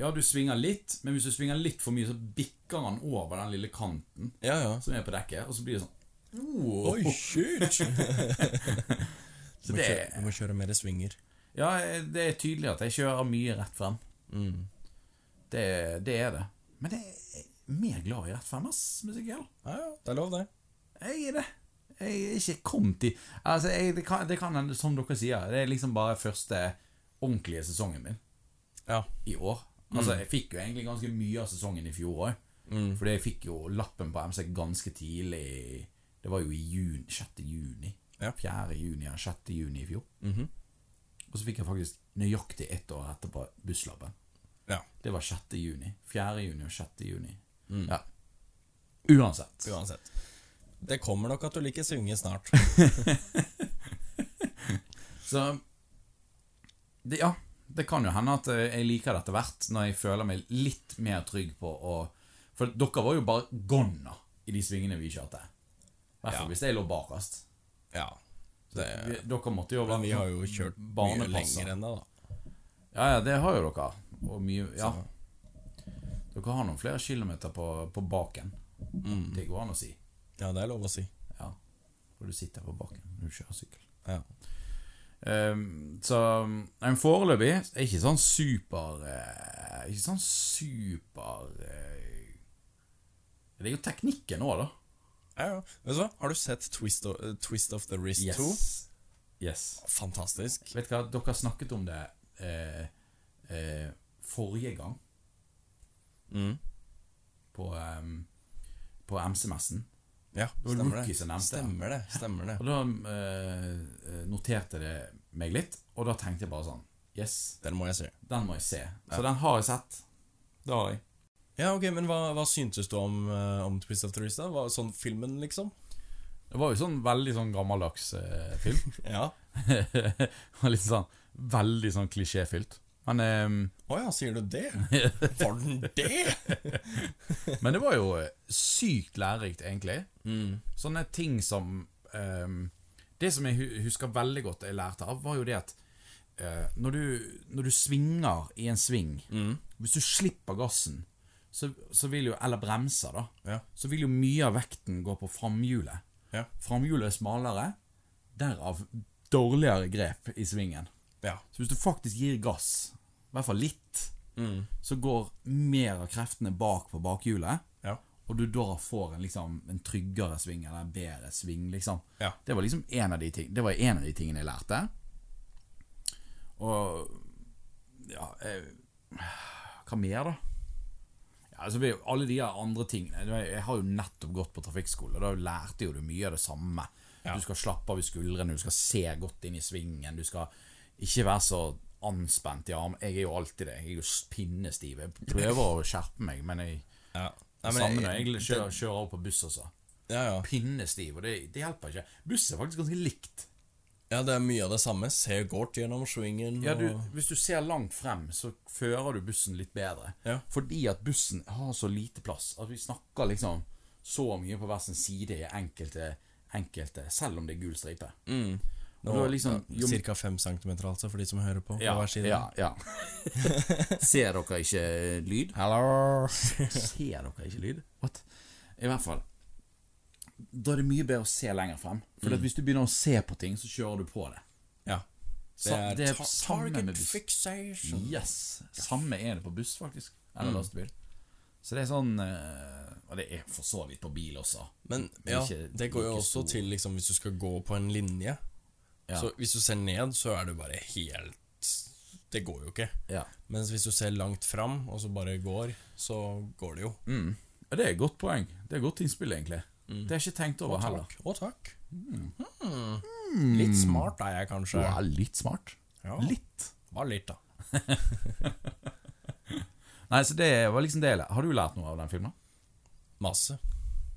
Ja, du svinger litt, men hvis du svinger litt for mye, så bikker han over den lille kanten Ja, ja. som er på dekket, og så blir det sånn oh, Oi, shit! Så Du må det kjøre- Du må kjøre mer svinger. Ja, det er tydelig at jeg kjører mye rett frem. Mm. Det, det er det. Men jeg er mer glad i rett frem, ass, med sykkel. Ja, ja, det er lov, det. Jeg er det. jeg er ikke kommet i Altså, jeg, det, kan, det kan hende, som dere sier, det er liksom bare første ordentlige sesongen min Ja. i år. Altså, jeg fikk jo egentlig ganske mye av sesongen i fjor òg. Fordi jeg fikk jo lappen på MC ganske tidlig. Det var jo i juni, 6. juni. Ja. 4. juni eller 6. juni i fjor. Mhm. Og så fikk jeg faktisk nøyaktig ett år etterpå busslappen. ja. Det var 6. juni. 4. juni og 6. juni. Ja. Uansett. Uansett. Det kommer nok at du liker synge snart. Så det, Ja, det kan jo hende at eh, jeg liker det etter hvert, når jeg føler meg litt mer trygg på å For dere var jo bare gonna i de svingene vi kjørte. I hvert fall Ja. hvis jeg lå bakerst. Ja. Det, Vi- Dere måtte jo men vi har jo kjørt mye barnepasser. lenger enn det, da. Ja, ja, det har jo dere. Og mye Ja. Dere har noen flere kilometer på, på baken. Mm. Det går an å si. Ja, det er lov å si. Ja. For du sitter på baken når du kjører sykkel. Ja. Um, så en foreløpig er ikke sånn super eh, Ikke sånn super eh, Det er jo teknikken òg, da. Ja, ja. Vet du hva? Har du sett Twist of, eh, Twist of the Wrist yes. 2? Fantastisk. Vet du hva, dere snakket om det eh, eh, forrige gang Mm. på, em, på MC-messen. Ja, var stemmer Rookie det. som nevnte det. Stemmer det. Stemmer det. Og da eh, noterte det meg litt, og da tenkte jeg bare sånn Yes, Den må jeg se. den må jeg se. Så den har jeg sett. Det har jeg. Ja, ok, men hva, hva syntes du om, eh, om Twist of the Wrist? da? Hva, sånn filmen, liksom? Det var jo sånn veldig sånn gammeldags eh, film. Ja. Og litt sånn Veldig sånn klisjéfylt. Men, ehm, Å ja, sier du det? Var den det? men det var jo eh, sykt lærerikt, egentlig. Sånne ting som ehm, Det som jeg hu- husker veldig godt jeg lærte av, var jo det at eh, når, du, når du svinger i en sving Hvis du slipper gassen, så, så vil jo Eller bremser, da. Ja. Så vil jo mye av vekten gå på framhjulet. Ja. Framhjulet er smalere, derav dårligere grep i svingen. Ja. Så hvis du faktisk gir gass, i hvert fall litt, så går mer av kreftene bak på bakhjulet, Ja. og du da får en, liksom, en tryggere sving, eller en bedre sving, liksom. Ja. Det var liksom en av de, ting, det var en av de tingene jeg lærte. Og ja, eh, hva mer da? Ja, altså, vi- alle de her andre tingene du vet, Jeg har jo nettopp gått på trafikkskole, og da lærte jo du mye av det samme. Ja. Du skal slappe av i skuldrene, du skal se godt inn i svingen, du skal ikke være så anspent i arm. Jeg er jo alltid det. Jeg er jo s- pinnestiv. Jeg prøver å skjerpe meg, men jeg ja. Nei, men Samme jeg- når jeg kjører, kjører over på buss også. Ja, ja. Pinnestiv, og det, det hjelper ikke. Buss er faktisk ganske likt. ja, det er mye av det samme. Ser godt gjennom swingen. Ja, du, og- hvis du ser langt frem, så fører du bussen litt bedre. Ja. Fordi at bussen har så lite plass. At vi snakker liksom så mye på hver sin side i enkelte, enkelte selv om det er gul stripe. Og da og, er liksom, Mm. ja, cirka fem centimeter, altså, for de som hører på. ja, på hver side. ja, ja. Ser dere ikke lyd? Hello. Ser dere ikke lyd? What? I hvert fall. Da er det mye bedre å se lenger frem. For Mm. at hvis du begynner å se på ting, så kjører du på det. ja. Det Sa- er, det er ta samme med target buss. fixation. Yes. Samme er det på buss, faktisk. Eller Mm. lastebil. Så det er sånn eh, Og det er for så vidt på bil også. Men er ja, ikke det går jo like også stor. til liksom, hvis du skal gå på en linje. Ja. Så hvis du ser ned, så er du bare helt Det går jo ikke. Ja. Mens hvis du ser langt fram, og så bare går, så går det jo. Mm. Ja, Det er et godt poeng. Det er et godt innspill, egentlig. Mm. Det har jeg ikke tenkt over heller. Takk. Å, takk. Mm. Hmm. Litt smart er jeg Du kanskje. er litt smart. Ja, Litt. Bare litt, da. Nei, så det var liksom det jeg lærte. Har du lært noe av den filmen? Masse.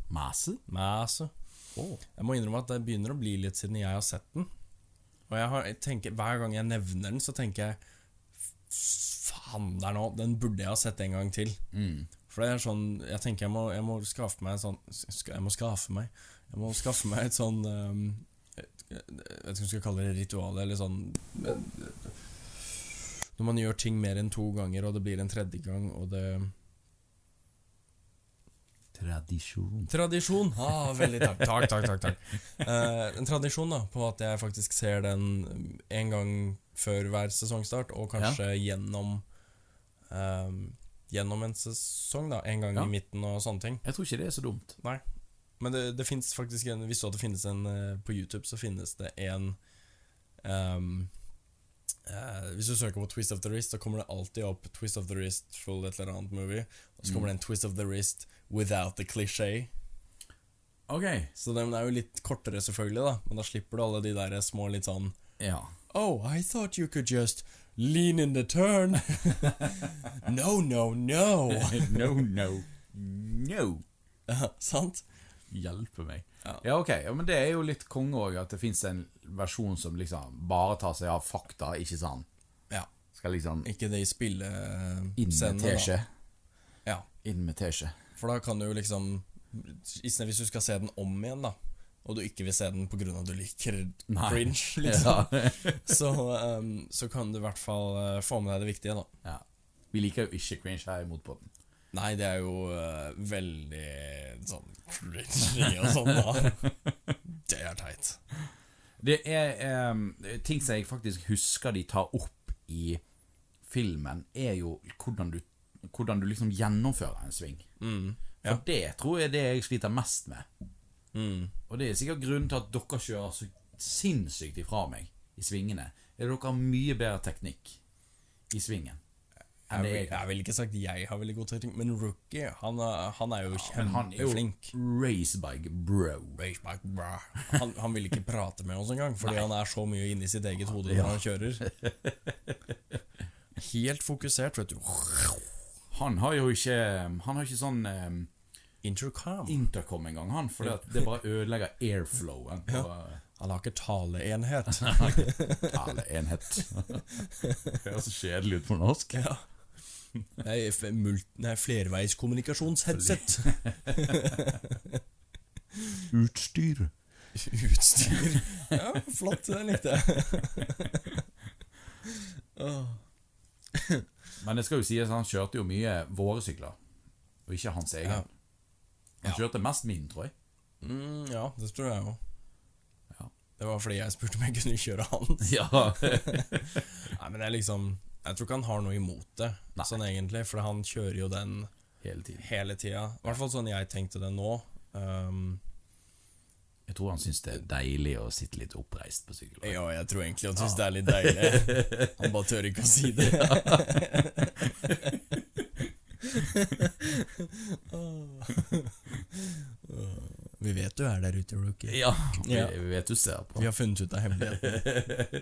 Masse? Masse. Jeg må innrømme at det begynner å bli litt siden jeg har sett den. Og jeg har, jeg tenker, hver gang jeg nevner den, så tenker jeg "F- Faen der nå, den burde jeg ha sett en gang til. For det er sånn Jeg tenker jeg må, jeg må skaffe meg en sånn ska- Jeg må skaffe meg Jeg må skaffe meg et sånn um, Jeg jeg vet ikke om jeg skal kalle det ritual, eller sånn Når man gjør ting mer enn to ganger, og det blir en tredje gang, og det Tradisjon. Tradisjon! Ah, veldig takk. Takk, takk, takk, takk. Eh, en tradisjon da, på at jeg faktisk ser den en gang før hver sesongstart, og kanskje gjennom eh, Gjennom en sesong, da. En gang Ja. i midten og sånne ting. Jeg tror ikke det er så dumt. Men det, det finnes faktisk en Visste du at det finnes en eh, På YouTube så finnes det en ehm, eh, Hvis du søker på Twist of the Wrist, så kommer det alltid opp Twist of the Wrist full et eller annet movie. Og så kommer det en Twist of the Wrist without the cliché. Ok. Så den er jo litt kortere, selvfølgelig, da men da slipper du alle de der små litt sånn Ja. Oh, I thought you could just lean in the turn. no, no, no. no, no, no. Ja, Sant? Hjelpe meg. Ja. Ja, ok. Ja, men det er jo litt konge òg, at det fins en versjon som liksom bare tar seg av fakta, ikke sant? Ja. Skal liksom Ikke det i inn med spillescenene, da. teskje. Ja, Inn med teskje. for da kan du jo liksom i stedet Hvis du skal se den om igjen, da, og du ikke vil se den pga. at du liker Nei. cringe, liksom, Ja. så, ehm, så kan du i hvert fall eh, få med deg det viktige, da. ja. Vi liker jo ikke cringe her i Motpodden. Nei, det er jo eh, veldig sånn cringy og sånn, da. Det er teit. Det er eh, ting som jeg faktisk husker de tar opp i filmen, er jo hvordan du, hvordan du liksom gjennomfører en sving. ja. For det tror jeg er det jeg sliter mest med. Og det er sikkert grunnen til at dere kjører så sinnssykt ifra meg i svingene. Er dere har mye bedre teknikk i svingen Jeg enn det vil, jeg har. jeg vil ikke sagt jeg har veldig god teknikk, men Rookie han er, han er jo Men han er kjempeflink. jo racebike bro. Han, han vil ikke prate med oss engang, fordi han er så mye inni sitt eget hode når han kjører. Helt fokusert, vet du. Han har jo ikke Han har ikke sånn eh, Intercom. intercom engang, han. For det, det bare ødelegger airflowen på Han har ikke taleenhet. alle enhet. Høres så kjedelig ut på norsk. Ja. Nei, f- mult- nei, flerveiskommunikasjonsheadset. Utstyr. Utstyr. Ja, flott. Den likte jeg. Åh. Men det skal jo sies, han kjørte jo mye våre sykler, og ikke hans egen. Ja. Han kjørte mest min, tror jeg. Mm, ja, det tror jeg òg. Ja. Det var fordi jeg spurte om jeg kunne kjøre hans. Ja. Nei, men jeg liksom Jeg tror ikke han har noe imot det, Nei. sånn egentlig, for han kjører jo den Hele tiden. hele tida. I hvert fall sånn jeg tenkte det nå. Um, Jeg tror han syns det er deilig å sitte litt oppreist på sykkel. ja, jeg tror egentlig han syns det er litt deilig. Han bare tør ikke å si det. Åh. Vi vet du er der ute, Rookie. Ja, vi Ja. vi vet du ser på. Vi har funnet ut av hemmeligheten.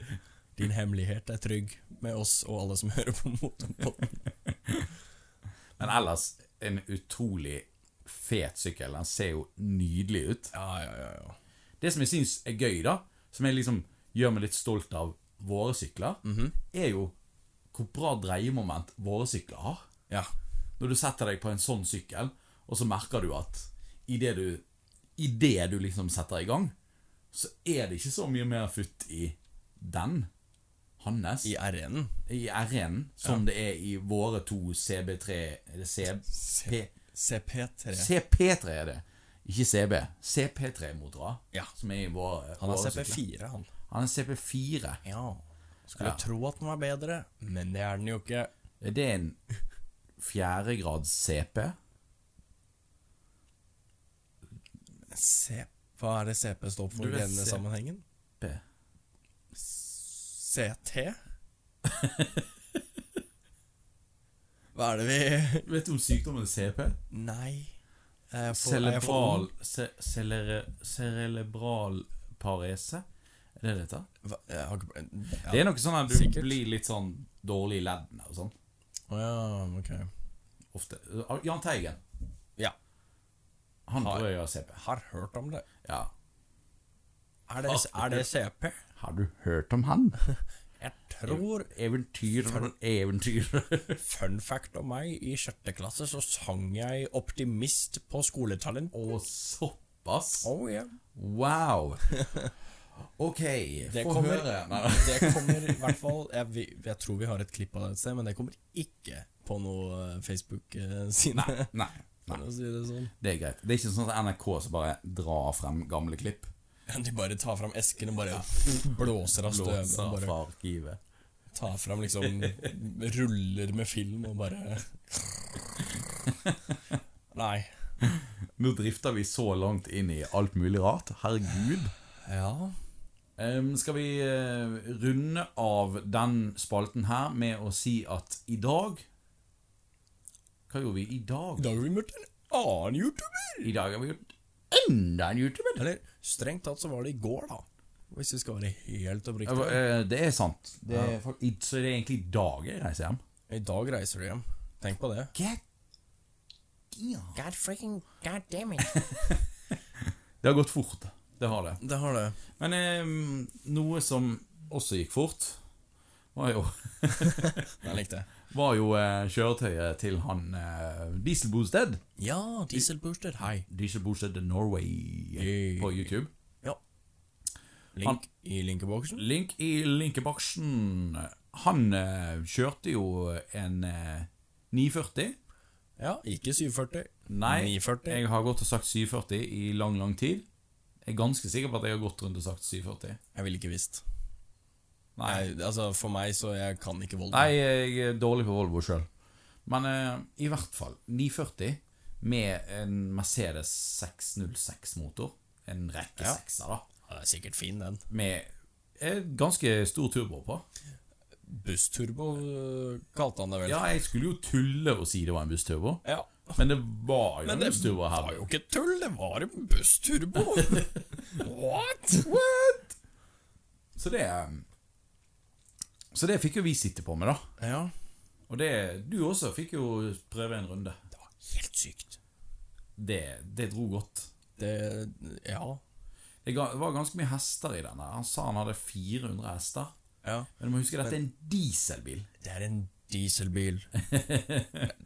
Din hemmelighet er trygg med oss og alle som hører på Motorpodden. Men ellers, en utrolig fet sykkel. Den ser jo nydelig ut. Ja, ja, ja, ja. Det som jeg syns er gøy, da, som jeg liksom gjør meg litt stolt av våre sykler, Mhm. er jo hvor bra dreiemoment våre sykler har. Ja, Når du setter deg på en sånn sykkel, og så merker du at idet du, i det du liksom setter i gang, så er det ikke så mye mer futt i den, hans, I RN-en. i R1 som det er i våre to CB3 Er det C, P, CP3. CP3 er det. Ikke CB. CP3-motorer. Ja. Som er i våre Han er våre sykler. CP4, han. Han er CP4. Ja. Skulle Ja. tro at den var bedre, men det er den jo ikke. Er det en fjerdegrads CP? C Hva er det CP står for Du i vet denne C- sammenhengen? P. CT? Hva er det vi Vet du om sykdommen CP? Nei. Er jeg for- er jeg for Cerebral ung? ce, celere, Cerebral parese? Er det det heter? Hva- jeg har ikke- ja. Det er noe sånn at du sikkert. blir litt sånn dårlig i leddene og sånn. Å ja, ok. Ofte. Jahn Teigen. Ja. Han Har- tror jeg har CP. Har hørt om det. Ja. Er det, er det CP? Har du hørt om han? Jeg tror Eventyr Eventyr. Fun fact om meg, i sjette klasse så sang jeg Optimist på skoletalent. Og såpass? Oh, yeah. Wow. Ok, Det få kommer, høre. Nei, det kommer i hvert fall jeg, vi- jeg tror vi har et klipp av det et sted, men det kommer ikke på noe eh, Facebook-side. Nei, nei, nei, For å si det sånn. det er greit. Det er ikke sånn at NRK som bare drar frem gamle klipp. De bare tar fram esken og bare blåser av støvet. Låser og fra Bare arkivet. tar fram liksom ruller med film og bare Nei. Nå drifter vi så langt inn i alt mulig rart. Herregud. Ja. Ehm, skal vi eh, runde av den spalten her med å si at i dag Hva gjorde vi i dag? I dag har vi møtt en annen YouTuber. I dag har vi gjort enda en YouTuber. Eller strengt tatt så var det i går, da. Hvis vi skal være helt Ja, oppriktige. eh, Det er sant. Det er, fak- i- så det er egentlig i dag jeg reiser hjem. I dag reiser du hjem. Tenk på det. Get God freaking god damn it. Det har gått fort. Det har det. Det har det. Men ehm, noe som også gikk fort, var jo, Den likte jeg. var jo eh, kjøretøyet til han eh, Dieselbosted. Ja, dieselbooster. Hei. Dieselbosted Norway eh, Hey. på YouTube. Ja. Link Han- i linkeboksen. Link i linkebaksen. Han eh, kjørte jo en eh, 940. Ja, ikke 740. Nei, 940. jeg har gått og sagt 740 i lang, lang tid. Jeg er ganske sikker på at jeg har gått rundt og sagt 740. Jeg ville ikke visst. Nei, Nei, altså for meg så Jeg kan ikke Volvo. Nei, jeg er dårlig på Volvo sjøl. Men eh, i hvert fall 940 med en Mercedes 606-motor. En rekke Ja. sekser, da. Ja, det er sikkert fin, den. Med eh, ganske stor turbo på. Bussturbo øh, kalte han det vel. Ja, jeg skulle jo tulle og si det var en bussturbo, Ja. men det var jo Men en det bussturbo her. var jo ikke tull, det var en bussturbo! What?! Så det um, Så det fikk jo vi sitte på med, da. Ja, Og det, du også fikk jo prøve en runde. det var helt sykt. Det, det dro godt. Det Ja. Det ga- var ganske mye hester i denne. Han sa han hadde 400 hester. ja. Men du må huske dette er en dieselbil. Det er en dieselbil.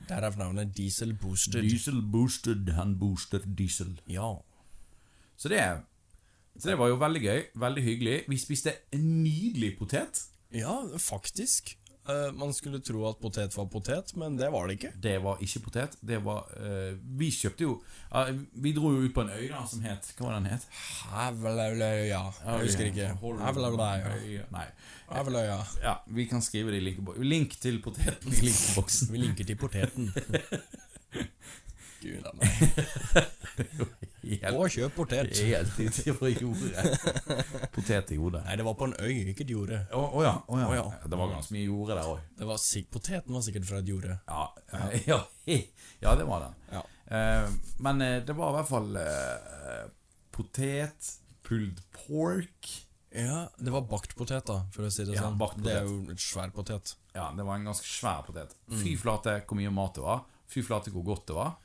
Derav navnet dieselbooster. Diesel boosted, han booster diesel. ja. Så det, så det var jo veldig gøy, veldig hyggelig. Vi spiste en nydelig potet. ja, faktisk. Eh, man skulle tro at potet var potet, men det var det ikke. Det var ikke potet, det var eh, Vi kjøpte jo eh, Vi dro jo ut på en øy da, som het Hva var den het? Hæveløya. Jeg husker ikke. Hol- Hæveløya. Øya. Nei. Hæveløya. Ja, vi kan skrive det i linkeboksen. Link til poteten i linkeboksen. Vi linker til poteten. Gud a meg. Helt, Gå og kjøp potet. helt i det fra jordet. Potet i hodet. Nei, det var på en øy, ikke et jorde. Å å ja, å ja. Å ja. Det var ganske mye jorde der òg. Det var sik poteten var sikkert fra et jorde. Ja, ja, ja, det var den. Ja. Eh, men eh, det var i hvert fall eh, potet, pulled pork Ja, Det var bakt potet, da, for å si det Ja, sånn. bakt Det er potet. jo en svær potet. Ja, det var en ganske svær potet. Fy flate hvor mye mat det var. Fy flate hvor godt det var.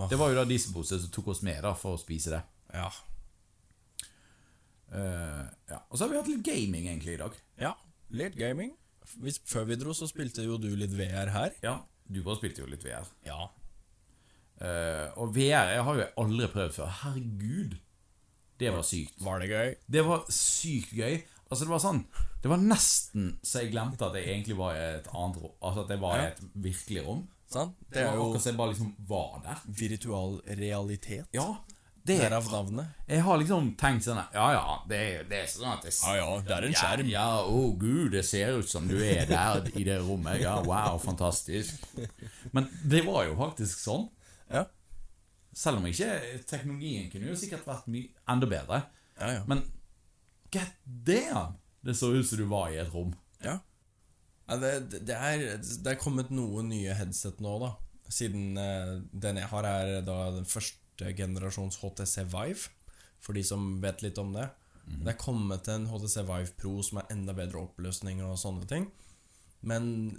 Åh. Det var jo da dieselpose som tok oss med da for å spise det. Ja. Eh, ja. Og så har vi hatt litt gaming egentlig i dag. ja. Litt gaming. Hvis, før vi dro, så spilte jo du litt VR her. Ja, du bare spilte jo litt VR. Ja. Eh, og VR jeg har jo jeg aldri prøvd før. Herregud, det var sykt. Var det gøy? Det var sykt gøy. Altså Det var sånn Det var nesten så jeg glemte at jeg egentlig var i et annet rom. Altså at jeg var i et virkelig rom. Sant? Det Det er jo akkurat som jeg bare liksom var der. virtual realitet. Ja, det er Derav navnet. Jeg har liksom tenkt sånn Ja ja, det, er- det er sånn at jeg Ja ja, det er en Ja, skjerm. ja, å gud, det ser ut som du er der i det rommet. Ja, wow, fantastisk. Men det var jo faktisk sånn. Ja. Selv om ikke teknologien kunne jo sikkert vært mye enda bedre. Ja, ja. Men get damn! Det så ut som du var i et rom. Ja. ja det, det- det, er, det er kommet noen nye headset nå, da. Siden eh, den jeg har, er da den første generasjons HTC Vive. For de som vet litt om det. Det er kommet en HTC Vive Pro som er enda bedre oppløsning og sånne ting. Men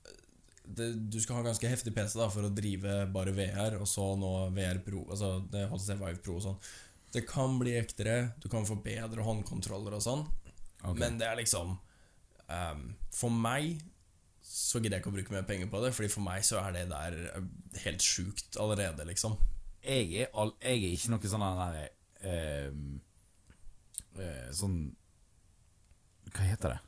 eh, det, du skal ha ganske heftig PC da for å drive bare VR, og så nå VR Pro. Altså det HTC Vive Pro og sånn. Det kan bli ektere, du kan få bedre håndkontroller og sånn. Ok. Men det er liksom ehm, For meg så gidder jeg ikke å bruke mer penger på det, Fordi for meg så er det der eh, helt sjukt allerede, liksom. Jeg er, all, jeg er ikke noe sånn der eh, eh, Sånn Hva heter det?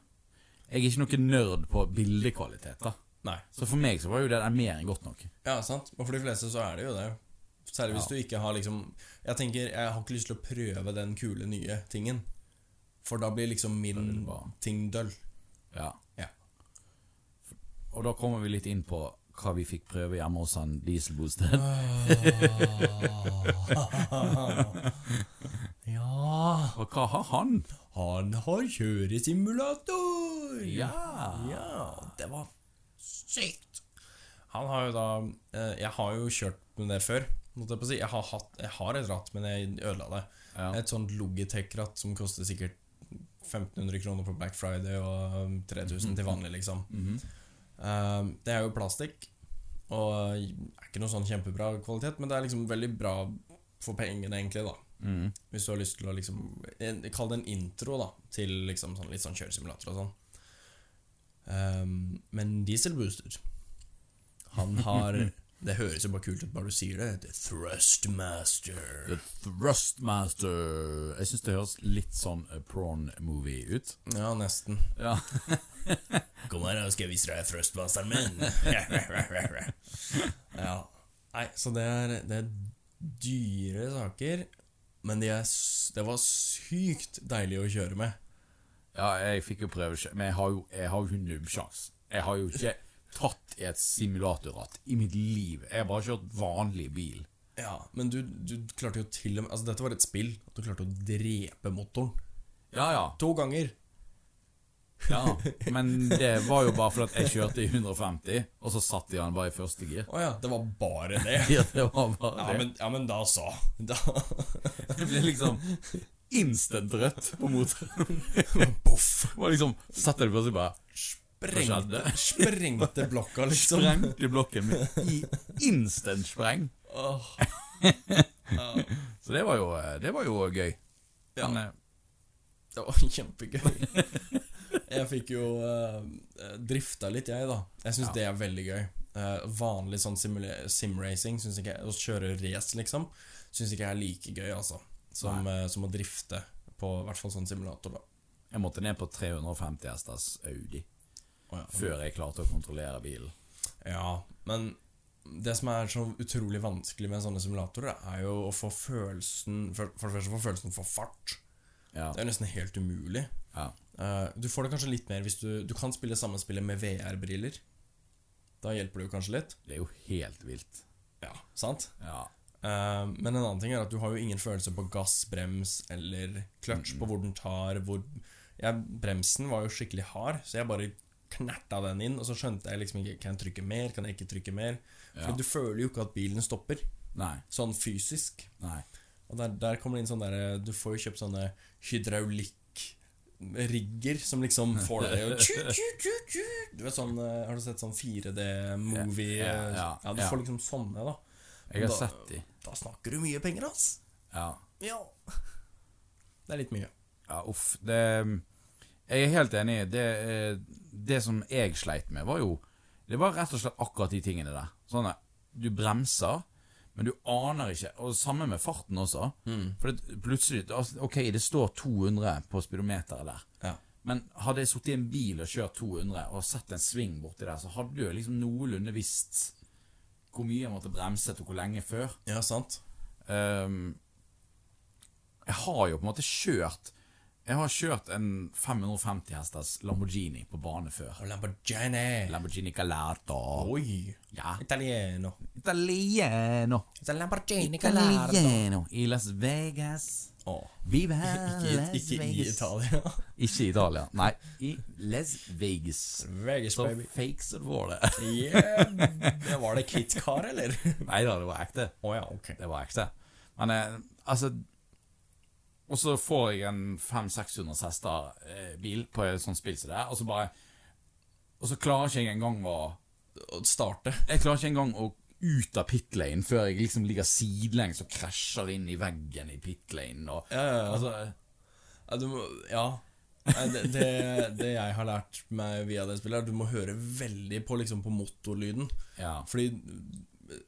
Jeg er ikke noe nerd på bildekvalitet. da Nei. Så for meg så var jo det der mer enn godt nok. Ja, sant. Og for de fleste så er det jo det. Særlig hvis Ja. du ikke har liksom Jeg tenker, jeg har ikke lyst til å prøve den kule nye tingen. For da blir liksom min bra. ting døll. Ja. Ja. Og da kommer vi litt inn på hva vi fikk prøve hjemme hos han dieselbosted. Ah. ja Og hva har han? Han har kjøresimulator! Ja. ja det var sykt! Han har jo da eh, Jeg har jo kjørt med det før. Måtte jeg, på å si. jeg, har hatt, jeg har et ratt, men jeg ødela det. Ja. Et sånt Logitech-ratt som koster sikkert 1500 kroner på Black Friday og um, 3000 til vanlig, liksom. Um, det er jo plastikk, og er ikke noe sånn kjempebra kvalitet, men det er liksom veldig bra for pengene, egentlig, da. Mm. Hvis du har lyst til å liksom en- Kall det en intro da til liksom sånn, litt sånn kjøresimulator og sånn. Ehm, men Diesel Booster Han har Det høres jo bare kult ut bare du sier det. The Thrustmaster. The Thrustmaster. Jeg syns det høres litt sånn eh, prawn-movie ut. Ja, nesten. Ja. Kom her, da skal jeg vise deg Thrustmasteren min. ja. Nei, så det er, det er dyre saker, men de er, s- det var sykt deilig å kjøre med. Ja, jeg fikk jo prøve sjø- men jeg har jo, jeg har jo nubbsjans. Jeg har jo ikke tatt i et simulatorratt i mitt liv. Jeg har bare kjørt vanlig bil. Ja, men du, du klarte jo til og med Altså, dette var et spill. At du klarte å drepe motoren. Ja, ja. To ganger! ja. Men det var jo bare fordi at jeg kjørte i 150, og så satt jeg han bare i første gir. Å ja, det var bare det. Ja, det var Ja bare det. men, ja, men da så. Da Det ble liksom instant rødt på motoren. Boff! Det var liksom, satt jeg det plutselig bare Sprengte, skjedde? sprengte blokka, liksom. Sprengte blokken min i instant spreng. Åh, Så det var jo, det var jo gøy. Ja. Men, eh, det var kjempegøy. Jeg fikk jo eh, drifta litt, jeg, da. Jeg syns Ja. det er veldig gøy. Eh, vanlig sånn simula- simracing, syns ikke jeg Å kjøre race, liksom, syns ikke jeg er like gøy, altså. Som, eh, som å drifte på i hvert fall sånn simulator, da. jeg måtte ned på 350 hesters Audi Å ja. før jeg klarte å kontrollere bilen. Ja, men det som er så utrolig vanskelig med sånne simulatorer, er jo å få følelsen For, for det første få følelsen for fart. Ja, Det er nesten helt umulig. ja. Eh, du får det kanskje litt mer hvis du Du kan spille samme spillet med VR-briller. Da hjelper det jo kanskje litt. Det er jo helt vilt. Ja, sant? Ja. Eh, men en annen ting er at du har jo ingen følelse på gass, brems eller kløtsj, på hvor den tar, hvor ja, Bremsen var jo skikkelig hard, så jeg bare knerta den inn, og så skjønte jeg liksom ikke Kan jeg trykke mer, kan jeg ikke trykke mer? For Ja. du føler jo ikke at bilen stopper, Nei. sånn fysisk. Nei. Og der, der kommer det inn sånn derre Du får jo kjøpt sånne hydraulikk-rigger som liksom får deg til å tju, tju, tju, tju. Du vet sånn eh, Har du sett sånn 4D-movie Ja, ja, eh, ja, Ja, du ja. får liksom sånne, da. Jeg har Da- sett de. Da snakker du mye penger, ass. Ja. Ja. Det er litt mye. ja uff. Det Jeg er helt enig. Det, eh, det som jeg sleit med, var jo Det var rett og slett akkurat de tingene der. Sånn at du bremser, men du aner ikke Og samme med farten også. For det, plutselig altså, Ok, det står 200 på speedometeret der. Ja. Men hadde jeg sittet i en bil og kjørt 200 og sett en sving borti der, så hadde jeg liksom noenlunde visst hvor mye jeg måtte bremse og hvor lenge før. Ja, sant. Ehm, jeg har jo på en måte kjørt Jeg har kjørt en 550 hesters Lamborghini på bane før. Og Lamborghini. Lamborghini Galata. Oi. Ja. Italiano. Italiano. It's a Lamborghini Gallardo. Italiano. I Las Vegas. Å. Viva Ikke, Las ikke i Vegas. Italia. Ikke Italia. Nei, i Las Vegas. Vegas, Så baby. fake som det var det. Yeah. Det Var det Kit Kar, eller? Å Nei da, det var ekte. ja, ok. Det var ekte. Men eh, altså Og så får jeg en 500-600 hester eh, bil på et sånt spill som det, er, og så bare Og så klarer ikke jeg engang å Å starte. Jeg klarer ikke engang å ut av pit lane før jeg liksom ligger sidelengs og krasjer inn i veggen i pit lane og ja, ja. Altså, Ja, du må, ja. Nei, Det, det, det jeg har lært meg via det spillet, er at du må høre veldig på, liksom, på motorlyden. ja. Fordi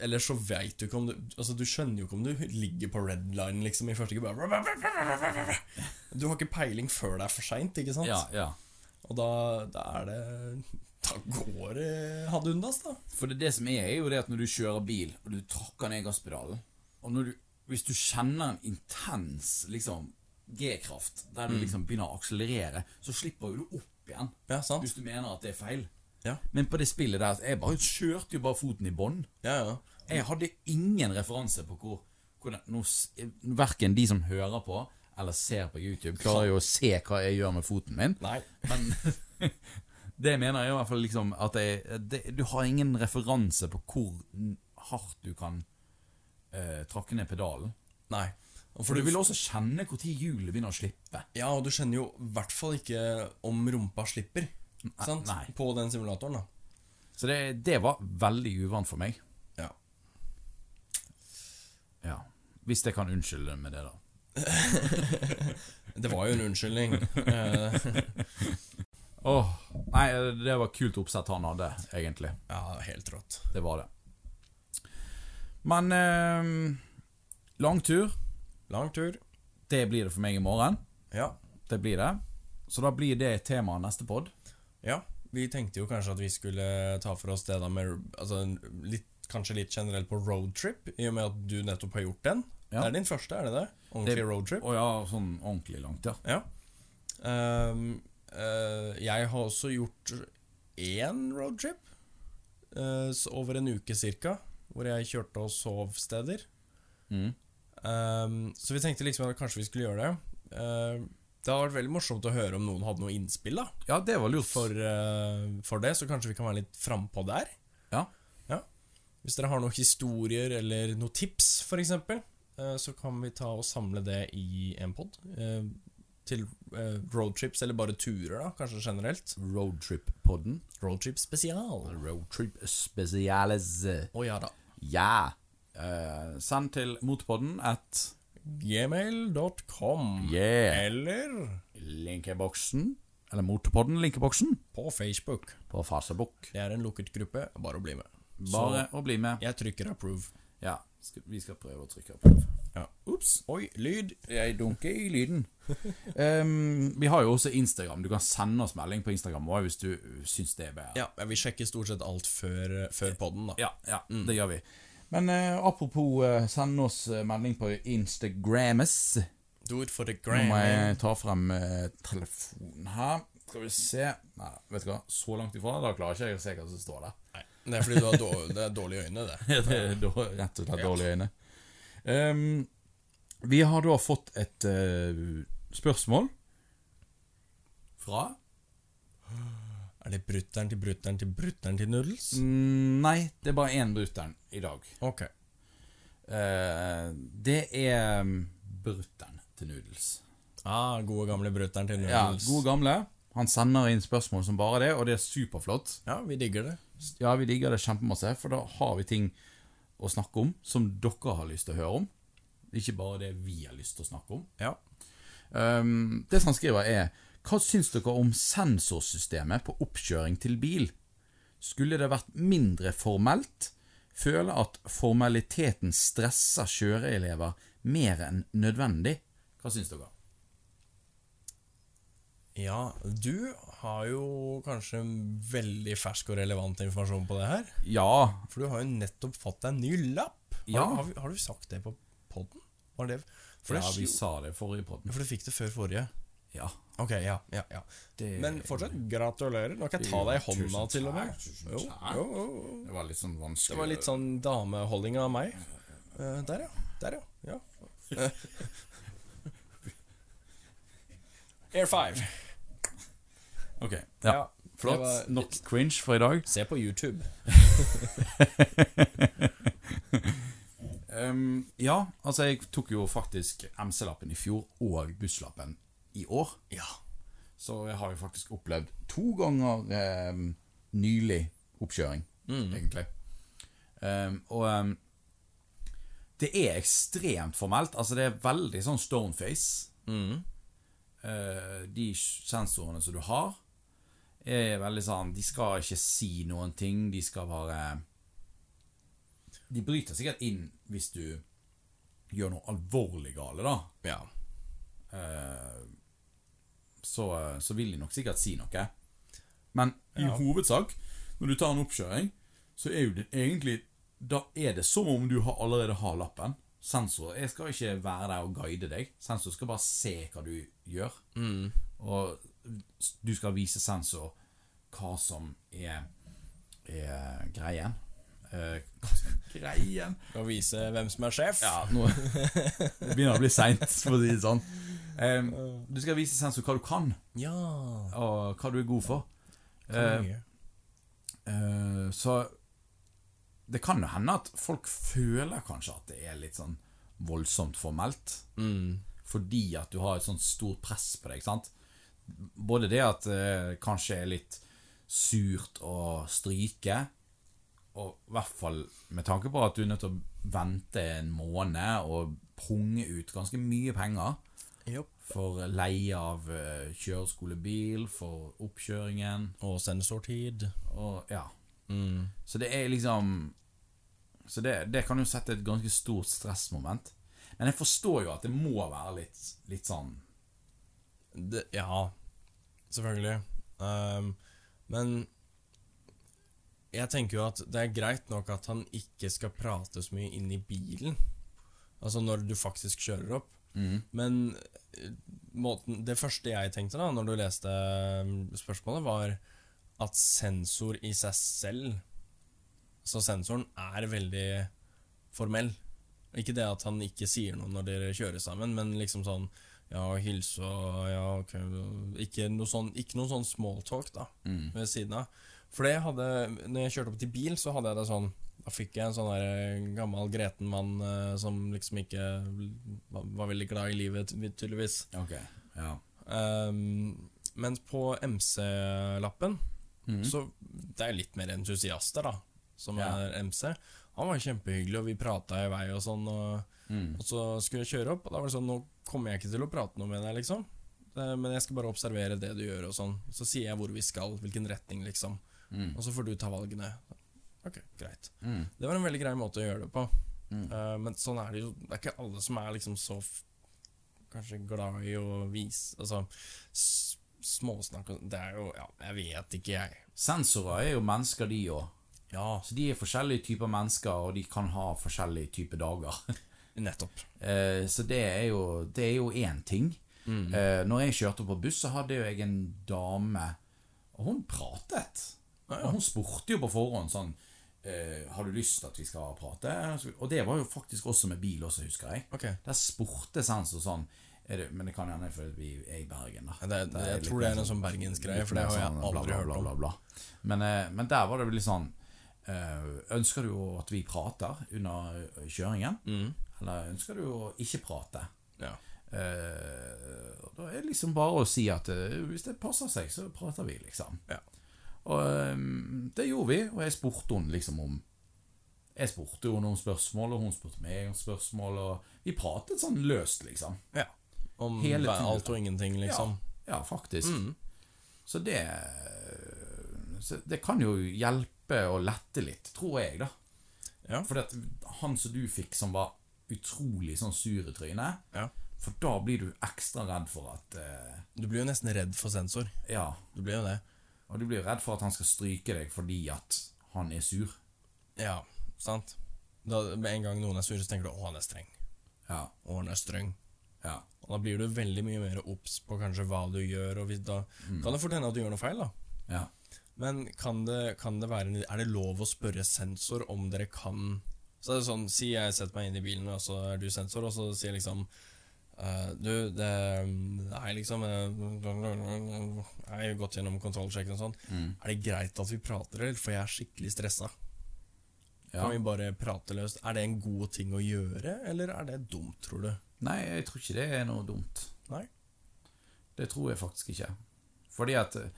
Ellers så veit du ikke om du Altså, du skjønner jo ikke om du ligger på red line liksom, i første gubbe. Du har ikke peiling før det er for seint, ikke sant? Ja, ja. Og da, da er det Da går det hadde undas, da. For det, er det som er, er jo det at når du kjører bil, og du tråkker ned gasspedalen Og når du, hvis du kjenner en intens liksom, G-kraft, der du liksom begynner å akselerere, så slipper jo du opp igjen. Ja, sant? Hvis du mener at det er feil. Ja. Men på det spillet der Jeg bare kjørte jo bare foten i bånn. Ja, ja. Jeg hadde ingen referanse på hvor, hvordan- nå s- Verken de som hører på eller ser på YouTube, klarer jo å se hva jeg gjør med foten min. Nei. Men det mener jeg i hvert fall liksom at jeg, det, Du har ingen referanse på hvor n- hardt du kan eh, trakke ned pedalen. Nei. Og For for du du, vil også kjenne når hjulet begynner å slippe. ja, og du kjenner jo i hvert fall ikke om rumpa slipper. Sant? nei. På den simulatoren, da. Så det, det var veldig uvant for meg. Ja. Ja. Hvis jeg kan unnskylde det med det, da. Det var jo en unnskyldning. Eh, Åh, nei, eh, det var kult oppsett han hadde, egentlig. ja, helt rått. Det var det. Men eh, lang tur, Lang tur. det blir det for meg i morgen. Ja. Det blir det. Så da blir det temaet neste pod. Ja, vi tenkte jo kanskje at vi skulle ta for oss det da med altså, en- litt, Kanskje litt generelt på roadtrip, i og med at du nettopp har gjort den. Ja. Det er din første, er det det? Ordentlig Det- roadtrip? Å ja, sånn ordentlig langt, ja. Ja. Ehm, eh, jeg har også gjort én roadtrip eh, s- over en uke cirka, hvor jeg kjørte og sov steder. Mm. Ehm, så vi tenkte liksom at kanskje vi skulle gjøre det. Ehm, det hadde vært veldig morsomt å høre om noen hadde noe innspill da Ja, det var lurt. for, eh, for det, så kanskje vi kan være litt frampå der. Ja. Ja. Hvis dere har noen historier eller noen tips, f.eks., så kan vi ta og samle det i en pod. Til eh, roadtrips, eller bare turer, da, kanskje generelt. Roadtrip-podden. Roadtrip spesial. Roadtrip spesiales. Å ja da. Ja. Eh, send til motpodden at Gmail.com. yeah. Eller linkeboksen. Eller motpodden, linkeboksen. på Facebook. På Facebook. Det er en lukket gruppe. Bare å bli med. Bare å bli med. Jeg trykker approve. Ja, skal, vi skal prøve å trykke på det. Ja. Ops. Oi, lyd. Jeg dunker i lyden. Ehm, vi har jo også Instagram. Du kan sende oss melding på Instagram også hvis du syns det er bedre. Ja, vi sjekker stort sett alt før, eh, før podden, da. Ja, ja, det gjør vi. Mm. Men eh, apropos eh, send oss eh, melding på Instagrammes. Do it for the Nå gram. må man. jeg ta frem eh, telefonen her. Skal vi se Nei, vet du hva. Så langt ifra. Da klarer ikke jeg å se hva som står der. Nei, det er fordi du har dårlig, det er dårlige øyne, det. Ja, det er da, rett og slett dårlige øyne. Ehm, vi har da fått et eh, spørsmål fra Er det brutter'n til brutter'n til brutter'n til noodles? Mm, Nei, det er bare én brutter'n i dag. Ok. Eh, det er mm, brutter'n til noodles. Ah, gode gamle brutter'n til Ja, noodles. gode gamle. Han sender inn spørsmål som bare det, og det er superflott. Ja, vi digger det. Ja, vi digger det kjempemasse, for da har vi ting å snakke om som dere har lyst til å høre om. Ikke bare det vi har lyst til å snakke om. Ja. Um, det som han skriver er Hva syns dere om sensorsystemet på oppkjøring til bil? Skulle det vært mindre formelt? Føler at formaliteten stresser kjøreelever mer enn nødvendig? Hva syns dere? ja, du har jo kanskje veldig fersk og relevant informasjon på det her. Ja, For du har jo nettopp fått deg en ny lapp. Har, Ja. har, vi- har du sagt det på podden? Var det For, det ja er vi slo- sa det i forrige podden. for du fikk det før forrige. Ja. Ok, ja, ja, ja. Det- Men fortsatt, gratulerer. Nå kan jeg ta deg i hånda Tusen til og med. takk, tusen Jo, takk. jo, jo, jo. Det var litt sånn vanskelig. Det var litt sånn dameholdning av meg. Eh, der, ja. Der, ja. ja. Air 5. Ok, sånn- Ja. ja. Flott. det var- Nok cringe for i dag. Se på YouTube. Um, ja, altså jeg tok jo faktisk MC-lappen i fjor og busslappen i år. Ja. Så jeg har jo faktisk opplevd to ganger um, nylig oppkjøring, egentlig. Um, og um, det er ekstremt formelt. Altså det er veldig sånn stoneface. Eh, de sensorene som du har, er veldig sånn De skal ikke si noen ting, de skal bare de bryter sikkert inn hvis du gjør noe alvorlig gale, da. Eh, ja. Så, eh, så vil de nok sikkert si noe. Men i hovedsak, når du tar en oppkjøring, så er jo det egentlig Da er det som om du har, allerede har lappen. Sensor Jeg skal ikke være der og guide deg. Sensor skal bare se hva du gjør. Og s- du skal vise sensor hva som er, er greien. Eh, hva som er greien? Og vise hvem som er sjef. Ja, nå det begynner det å bli seint, for å si det sånn. Eh, du skal vise sensor hva du kan, Ja. og hva du er god for. Eh, eh, så det kan jo hende at folk føler kanskje at det er litt sånn voldsomt formelt. Mm. Fordi at du har et sånt stort press på deg, sant? Både det at det kanskje er litt surt å stryke, og i hvert fall med tanke på at du er nødt til å vente en måned og punge ut ganske mye penger Jopp. for leie av eh, kjøreskolebil, for oppkjøringen Og sensortid. og ja. Mm. Så det er liksom Så det, det kan jo sette et ganske stort stressmoment. Men jeg forstår jo at det må være litt, litt sånn Det, ja, selvfølgelig. Ehm, men jeg tenker jo at det er greit nok at han ikke skal prate så mye inn i bilen. Altså når du faktisk kjører opp. Mm, Men eh, måten, det første jeg tenkte da når du leste eh, spørsmålet, var at sensor i seg selv Så sensoren er veldig formell. Ikke det at han ikke sier noe når dere kjører sammen, men liksom sånn Ja, hilse og ja, ok Ikke noe sånn, ikke noe sånn smalltalk, da, mm. ved siden av. For det hadde Når jeg kjørte opp til bil, så hadde jeg det sånn Da fikk jeg en sånn der eh, gammel greten mann eh, som liksom ikke var, var veldig glad i livet, ty- tydeligvis. Ok, ja Um, mens på MC-lappen Så det er jo litt mer entusiaster da Som Mm. Ja. er MC Han var kjempehyggelig og vi pratet i vei og sånn og, og så skulle jeg kjøre opp Og da var det sånn, nå kommer jeg ikke til å prate noe med deg liksom det, Men jeg skal bare observere det du gjør og sånn Så sier jeg hvor vi skal, hvilken retning liksom Og så får du ta valgene Ok, greit Det var en veldig grei måte å gjøre det på Mm. Eh, Men sånn er det jo, det er ikke alle som er liksom så f- kanskje glad i å vise Altså, s- småsnakk og- Det er jo Ja, jeg vet ikke, jeg. Sensorer er jo mennesker de også Ja, Så de er forskjellige typer mennesker Og de kan ha forskjellige typer dager nettopp. Eh, Så det er jo Det er jo en ting Eh, Når jeg kjørte på buss så hadde jo jeg en dame Og hun pratet Og hun spurte jo på forhånd sånn eh, Har du lyst til at vi skal prate? Og det var jo faktisk også med bil også husker jeg Ok. Ja, Der spurte sensor sånn er det, Men det kan gjerne for vi er i Bergen da Det, Der det, jeg litt tror det mer er en sånn- sånn bergensgreie, for det Litt har jeg mer sånn aldri bla, hørt bla, om. bla, bla, bla. Men, eh, men der var det vel litt sånn eh, Ønsker du jo at vi prater under eh, kjøringen? Mm. Eller ønsker du å ikke prate? Ja. Eh, og da er det liksom bare å si at eh, hvis det passer seg, så prater vi, liksom. Ja. Og eh, det gjorde vi, og jeg spurte hun liksom om Jeg spurte henne om spørsmål, og hun spurte meg om spørsmål, og vi pratet sånn løst, liksom. ja. Om Hele hver- tiden. alt og ingenting, liksom. Ja, ja faktisk. Så det så Det kan jo hjelpe og lette litt, tror jeg, da. Ja. For at han som du fikk, som var utrolig sånn sur i trynet Ja. For da blir du ekstra redd for at eh, Du blir jo nesten redd for sensor. Ja. Du blir jo det. Og du blir redd for at han skal stryke deg fordi at han er sur. Ja, sant. Da, med en gang noen er sur, så tenker du 'Å, han er streng'. Ja. Å, han er streng. Ja. Og da blir du veldig mye mer obs på kanskje hva du gjør, og hvis da kan det fort hende at du gjør noe feil, da. ja. Men kan det, kan det være Er det lov å spørre sensor om dere kan Så er det sånn, Si jeg setter meg inn i bilen, og så er du sensor, og så sier jeg liksom eh, Du, det Nei, liksom eh, Jeg har jo gått gjennom kontrollsjekken og sånn. Er det greit at vi prater, eller? For jeg er skikkelig stressa. ja. Kan vi bare prate løst? Er det en god ting å gjøre, eller er det dumt, tror du? Nei, jeg tror ikke det er noe dumt. Nei? Det tror jeg faktisk ikke. Fordi at eh,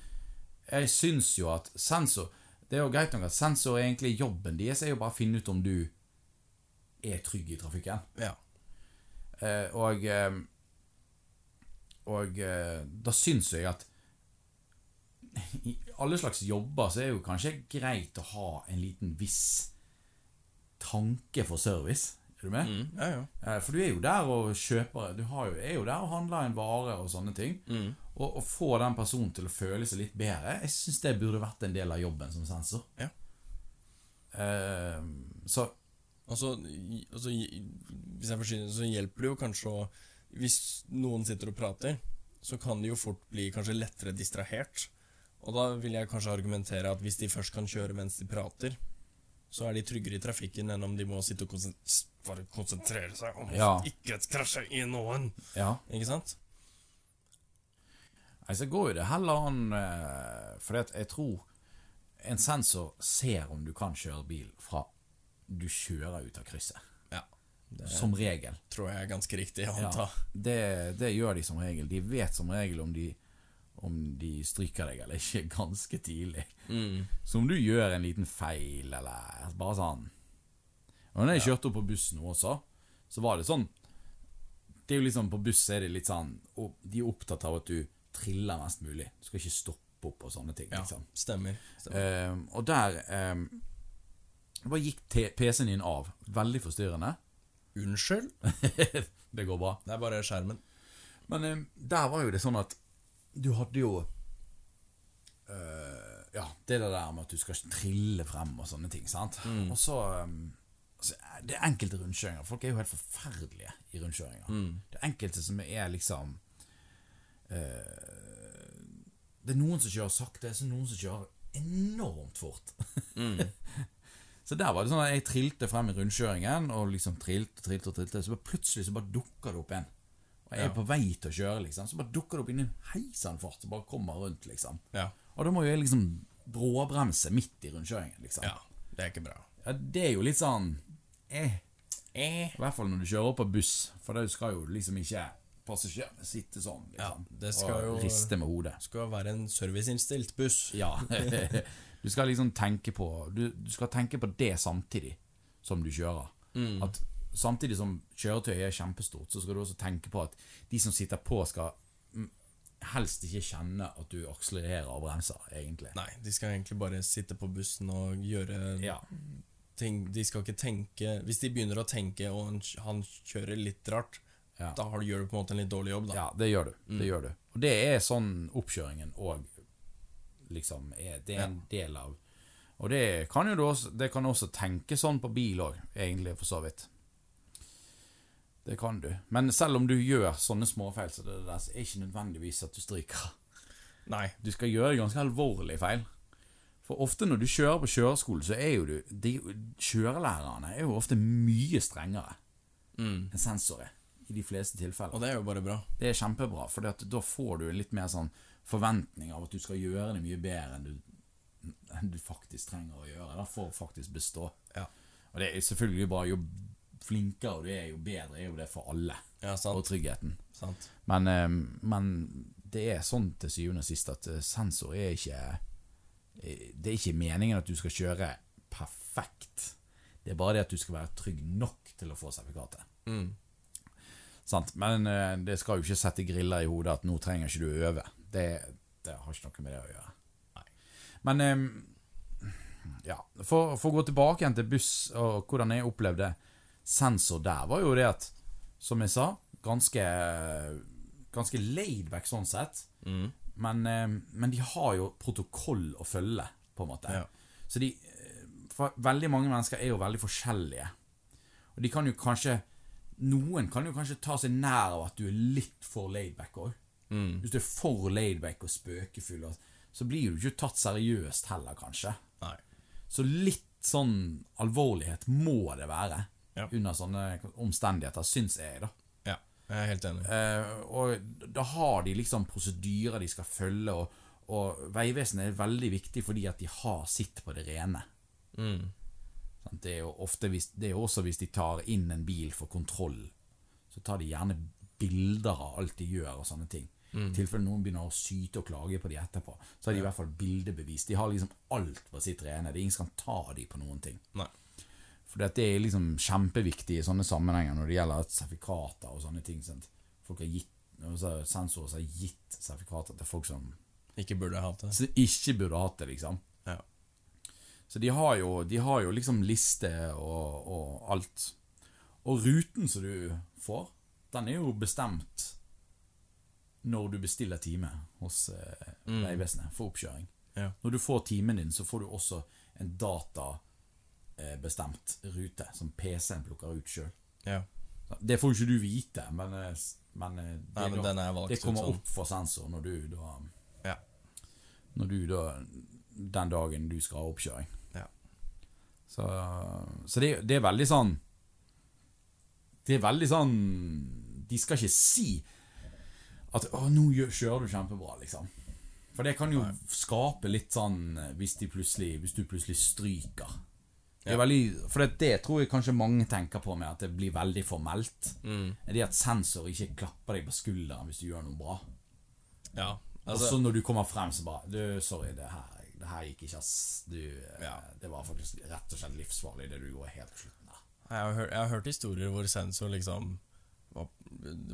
Jeg syns jo at sensor Det er jo greit nok at sensor er egentlig jobben deres er jo bare å finne ut om du er trygg i trafikken. Ja. Eh, og eh, Og eh, da syns jeg at i alle slags jobber så er det jo kanskje greit å ha en liten viss tanke for service. Er du med? Mm, ja, ja. Eh, For du er jo der og kjøper Du har jo, er jo der og handler en vare og sånne ting. Og å få den personen til å føle seg litt bedre, jeg syns det burde vært en del av jobben som sensor. Ja. Eh, så Og så, og så hvis jeg forsyner, så hjelper det jo kanskje å Hvis noen sitter og prater, så kan det jo fort bli kanskje lettere distrahert. Og da vil jeg kanskje argumentere at hvis de først kan kjøre mens de prater, så er de tryggere i trafikken enn om de må sitte og konsen- s- bare konsentrere seg om Ja. å ikke krasje i noen. Ja. Ikke sant? Nei, så går jo det heller an eh, Fordi at jeg tror en sensor ser om du kan kjøre bil fra du kjører ut av krysset. Ja. Det Som regel. tror jeg er ganske riktig å Ja, anta. det, det gjør de som regel. De vet som regel om de, om de stryker deg eller ikke ganske tidlig. Så om du gjør en liten feil eller bare sånn Og når jeg kjørte opp på bussen nå også, så var det sånn Det er jo liksom På buss er det litt sånn og De er opptatt av at du triller mest mulig. Du skal ikke stoppe opp og sånne ting. Ja, liksom stemmer. stemmer. Ehm, og der um, bare gikk te- PC-en din av. Veldig forstyrrende. Unnskyld? det går bra. Det er bare skjermen. Men eh, der var jo det sånn at du hadde jo eh, Ja, det er det der med at du skal trille frem og sånne ting, sant? Og så, eh, så er Det er enkelte rundkjøringer. Folk er jo helt forferdelige i rundkjøringer. Det er enkelte som er liksom eh, Det er noen som kjører sakte, så er det noen som kjører enormt fort. Så der var det sånn at jeg trilte frem i rundkjøringen, og liksom trilte, trilte og trilte, så bare plutselig så bare dukka det opp en. Og jeg er på vei til å kjøre, liksom, så bare dukker det opp inn i en heisanfart som bare kommer rundt, liksom. Ja. Og da må jo jeg liksom bråbremse midt i rundkjøringen, liksom. ja. Det er ikke bra. Ja, det er jo litt sånn eh. Eh. I hvert fall når du kjører opp på buss, for da skal jo liksom ikke passasjerene sitte sånn, liksom. Ja, det skal og jo- riste med hodet. Skal være en serviceinnstilt buss. Ja. Du skal liksom tenke på du, du skal tenke på det samtidig som du kjører. At samtidig som kjøretøyet er kjempestort, så skal du også tenke på at de som sitter på, skal mm, helst ikke kjenne at du akselererer og bremser, egentlig. Nei, de skal egentlig bare sitte på bussen og gjøre Ja. ting De skal ikke tenke Hvis de begynner å tenke, og han, han kjører litt rart, Ja. da har, gjør du på en måte en litt dårlig jobb, da. ja, det gjør du. Det gjør du. Og det er sånn oppkjøringen òg liksom er. Det er en del av Og det kan jo du også, det kan også tenke sånn på bil òg, egentlig, for så vidt. Det kan du. Men selv om du gjør sånne småfeil, så det der, så er det ikke nødvendigvis at du stryker. Nei. Du skal gjøre ganske alvorlige feil. For ofte når du kjører på kjøreskolen, så er jo du de, Kjørelærerne er jo ofte mye strengere enn sensor er. I de fleste tilfeller. Og det er jo bare bra. Det er kjempebra, for da får du litt mer sånn forventning av at du skal gjøre det mye bedre enn du, enn du faktisk trenger å gjøre. Da får faktisk bestå. Ja. Og det er selvfølgelig bra. Jo flinkere du er, jo bedre er jo det for alle, Ja, og sant. tryggheten. sant. Men, eh, men det er sånn til syvende og sist at eh, sensor er ikke eh, Det er ikke meningen at du skal kjøre perfekt. Det er bare det at du skal være trygg nok til å få sertifikatet. Mm. Sant? Men eh, det skal jo ikke sette griller i hodet at nå trenger ikke du å øve. Det, det har ikke noe med det å gjøre. Men eh, ja, for, for å gå tilbake igjen til buss og hvordan jeg opplevde sensor der, var jo det at, som jeg sa, ganske, ganske laidback sånn sett. Men, eh, men de har jo protokoll å følge, på en måte. Ja. Så de eh, for Veldig mange mennesker er jo veldig forskjellige. Og de kan jo kanskje Noen kan jo kanskje ta seg nær av at du er litt for laidback òg. Hvis du er for laidback og spøkefull, og- så blir du ikke tatt seriøst heller, kanskje. Nei. Så litt sånn alvorlighet må det være Ja. under sånne omstendigheter, syns jeg, da. Ja, jeg er helt enig. Eh, og da har de liksom prosedyrer de skal følge, og, og Vegvesenet er veldig viktig fordi at de har sitt på det rene. Sant, Det er jo ofte hvis, det er jo også hvis de tar inn en bil for kontroll, så tar de gjerne bilder av alt de gjør og sånne ting. I tilfelle noen begynner å syte og klage på de etterpå, så har de i hvert fall bildebevis. De har liksom alt på sitt rene. Det er ingen som kan ta de på noen ting. Nei. For det er liksom kjempeviktig i sånne sammenhenger når det gjelder sertifikater og sånne ting. Sant? Folk har gitt, altså sensorer som har gitt sertifikater til folk som, Ikke burde jeg hatt det. som ikke burde hatt det, liksom. Ja. Så de har jo, de har jo liksom liste og, og alt. Og ruten som du får, den er jo bestemt når du bestiller time hos eh, Vegvesenet for oppkjøring. Mm. Ja. Når du får timen din, så får du også en databestemt rute som PC-en plukker ut sjøl. ja. Det får jo ikke du vite, men, eh, s- men, eh, det, Nei, men da- den er valgt det ut kommer sånn. opp for sensor når du da Ja. når du da Den dagen du skal ha oppkjøring. Ja. Så, så det, det er veldig sånn Det er veldig sånn De skal ikke si at 'Å, nå gjør- kjører du kjempebra', liksom. For det kan jo skape litt sånn eh, hvis, de plutselig, hvis du plutselig stryker. Det er veldig, for det, det tror jeg kanskje mange tenker på med at det blir veldig formelt. Mm, Er det at sensor ikke klapper deg på skulderen hvis du gjør noe bra. Ja. og så Altså, når du kommer frem, så bare Du, sorry, det her, det her gikk ikke, ass. Du, eh, Ja. Det var faktisk rett og slett livsfarlig, det du gjorde helt på slutten der. jeg, har hørt, jeg har hørt historier hvor sensor liksom hva-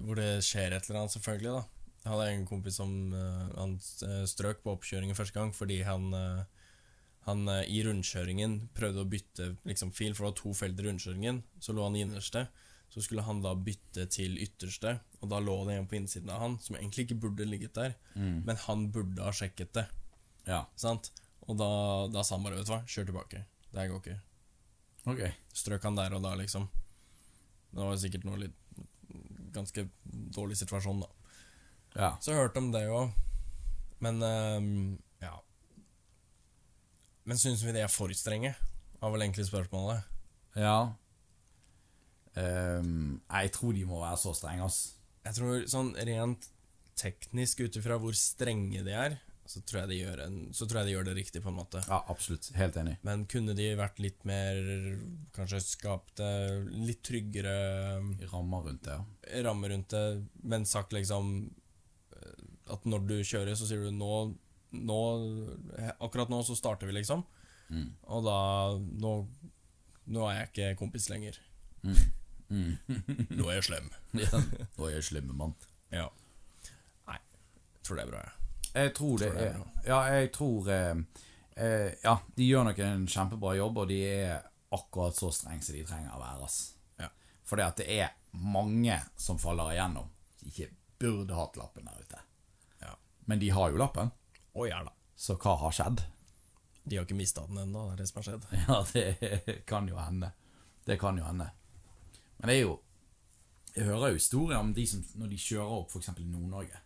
Hvor det skjer et eller annet, selvfølgelig. da Jeg hadde en kompis som eh, Han eh, strøk på oppkjøringen første gang fordi han eh, han eh, i rundkjøringen prøvde å bytte liksom, fil, for det var to felt i rundkjøringen. Så lå han i innerste. Så skulle han da bytte til ytterste, og da lå det en på innsiden av han som egentlig ikke burde ligget der, men han burde ha sjekket det. Ja. Sant? Og da, da sa han bare, vet du hva, kjør tilbake. Det her går ikke. Ok. Strøk han der og da, liksom. Det var sikkert noe litt Ganske dårlig situasjon, da. Ja. Så jeg hørte om det òg. Men ehm, ja. Men syns vi det er for strenge? Var vel egentlig spørsmålet. ja. Ehm, jeg tror de må være så strenge, ass. Jeg tror sånn rent teknisk, ut ifra hvor strenge de er, så tror jeg de gjør, en, så tror jeg de gjør det riktig, på en måte. Ja, absolutt. Helt enig. Men kunne de vært litt mer Kanskje skapt eh, litt tryggere ehm, Rammer rundt det, ja. rammer rundt det, men sagt liksom eh, At når du kjører, så sier du nå, nå Akkurat nå så starter vi, liksom. Mm. Og da nå, nå er jeg ikke kompis lenger. nå er jeg slem. Mm. Nå er jeg slemme mann. Ja. Nei, jeg tror det er bra, jeg. Jeg tror det Tror det er er Ja, jeg tror eh, eh, Ja, de gjør nok en kjempebra jobb, og de er akkurat så strenge som de trenger å være. Ass. Ja. Fordi at det er mange som faller igjennom, som ikke burde hatt lappen der ute. Ja. Men de har jo lappen, Å ja da. så hva har skjedd? De har ikke mista den ennå, det er det som har skjedd. Ja, det kan jo hende. Det kan jo hende. Men det er jo Jeg hører jo historier om de som når de kjører opp f.eks. i Nord-Norge.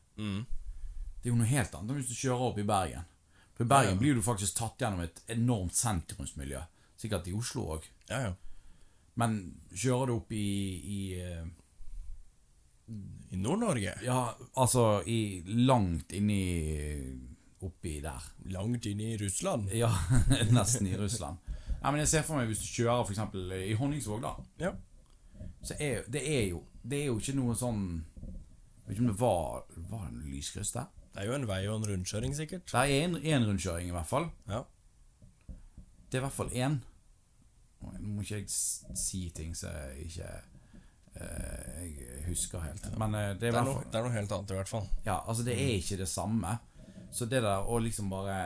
Det er jo noe helt annet enn hvis du kjører opp i Bergen. For I Bergen blir du faktisk tatt gjennom et enormt sentrumsmiljø. Sikkert i Oslo òg. Ja, ja. Men kjører du opp i, i eh, I Nord-Norge. Ja, altså i langt inni oppi der Langt inn i Russland. Ja, nesten i Russland. Nei, men jeg ser for meg hvis du kjører f.eks. i Honningsvåg, da. Ja. Så er, det, er jo, det er jo ikke noe sånn Jeg vet ikke om det var Var det en lyskryss der? Det er jo en vei og en rundkjøring, sikkert. Det er en, en rundkjøring, i hvert fall. Ja. Det er i hvert fall én. Nå må ikke jeg s- si ting som jeg ikke eh, Jeg husker helt. Men eh, det er i Det er, hvert noe, fall det er noe helt annet, i hvert fall. Ja, altså, det er ikke det samme. Så det der å liksom bare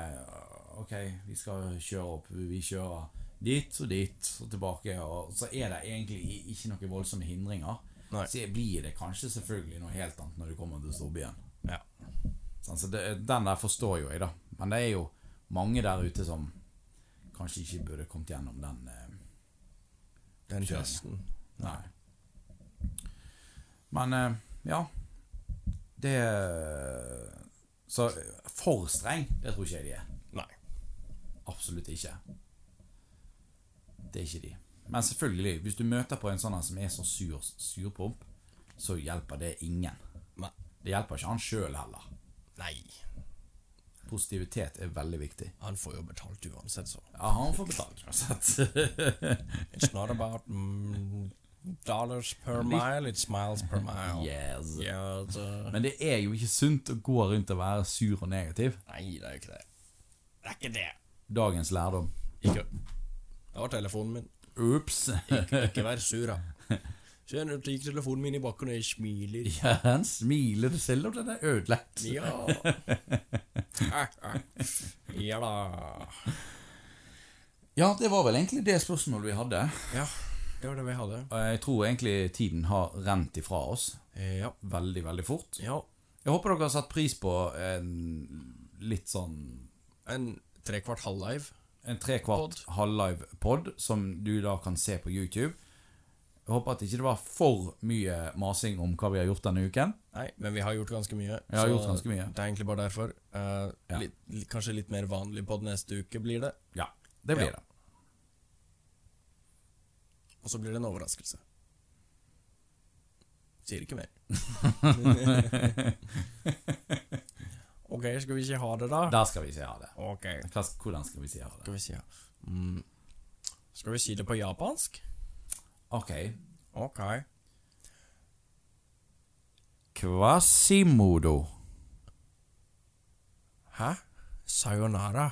Ok, vi skal kjøre opp. Vi kjører dit og dit og tilbake. Og så er det egentlig i- ikke noen voldsomme hindringer. Nei. Så blir det kanskje selvfølgelig noe helt annet når du kommer til storbyen. Ja. Sånn, Så det, den der forstår jo jeg, da. Men det er jo mange der ute som kanskje ikke burde kommet gjennom den. eh, Den Kjøring. testen. Nei. Men eh, ja. Det Så for streng, det tror ikke jeg de er. Nei. Absolutt ikke. Det er ikke de. Men selvfølgelig, hvis du møter på en sånn her som er så sur, surpomp, så hjelper det ingen. Nei. Det hjelper ikke han sjøl heller. Nei. Positivitet er veldig viktig. Han får jo betalt uansett, så. Ja, han får betalt uansett. It's not about mm, dollars per mile, it's miles per mile. Yes. Ja, altså. det- Men det er jo ikke sunt å gå rundt og være sur og negativ. Nei, det er jo ikke det. Det er ikke det. Dagens lærdom. Ikke Det var telefonen min. Ops. Ikke vær sur, da. Se, nå gikk telefonen min i bakken, og jeg smiler. Ja, han smiler selv om den er ødelagt. Ja. Ah, Ja da. Ja, det var vel egentlig det spørsmålet vi hadde. Ja, det var det vi hadde. Og Jeg tror egentlig tiden har rent ifra oss Eh, Ja. veldig, veldig fort. ja. Jeg håper dere har satt pris på en litt sånn En trekvart halvlive. en trekvart halvlive pod som du da kan se på YouTube. Jeg håper at ikke det var for mye masing om hva vi har gjort denne uken. Nei, men vi har gjort ganske mye. Jeg har så gjort ganske mye. Det er egentlig bare derfor. Eh, Ja. litt, litt- kanskje litt mer vanlig på neste uke blir det. Ja, det blir Ja. det. Og så blir det en overraskelse. Sier ikke mer. ok, skal vi si ha det, da? Der skal vi si ha det. Ok. Hva, hvordan skal vi si ha det? Skal vi si ja. mm. Skal vi si det på japansk? Ok. Ok. Kvasimodo. Hæ? Sayonara.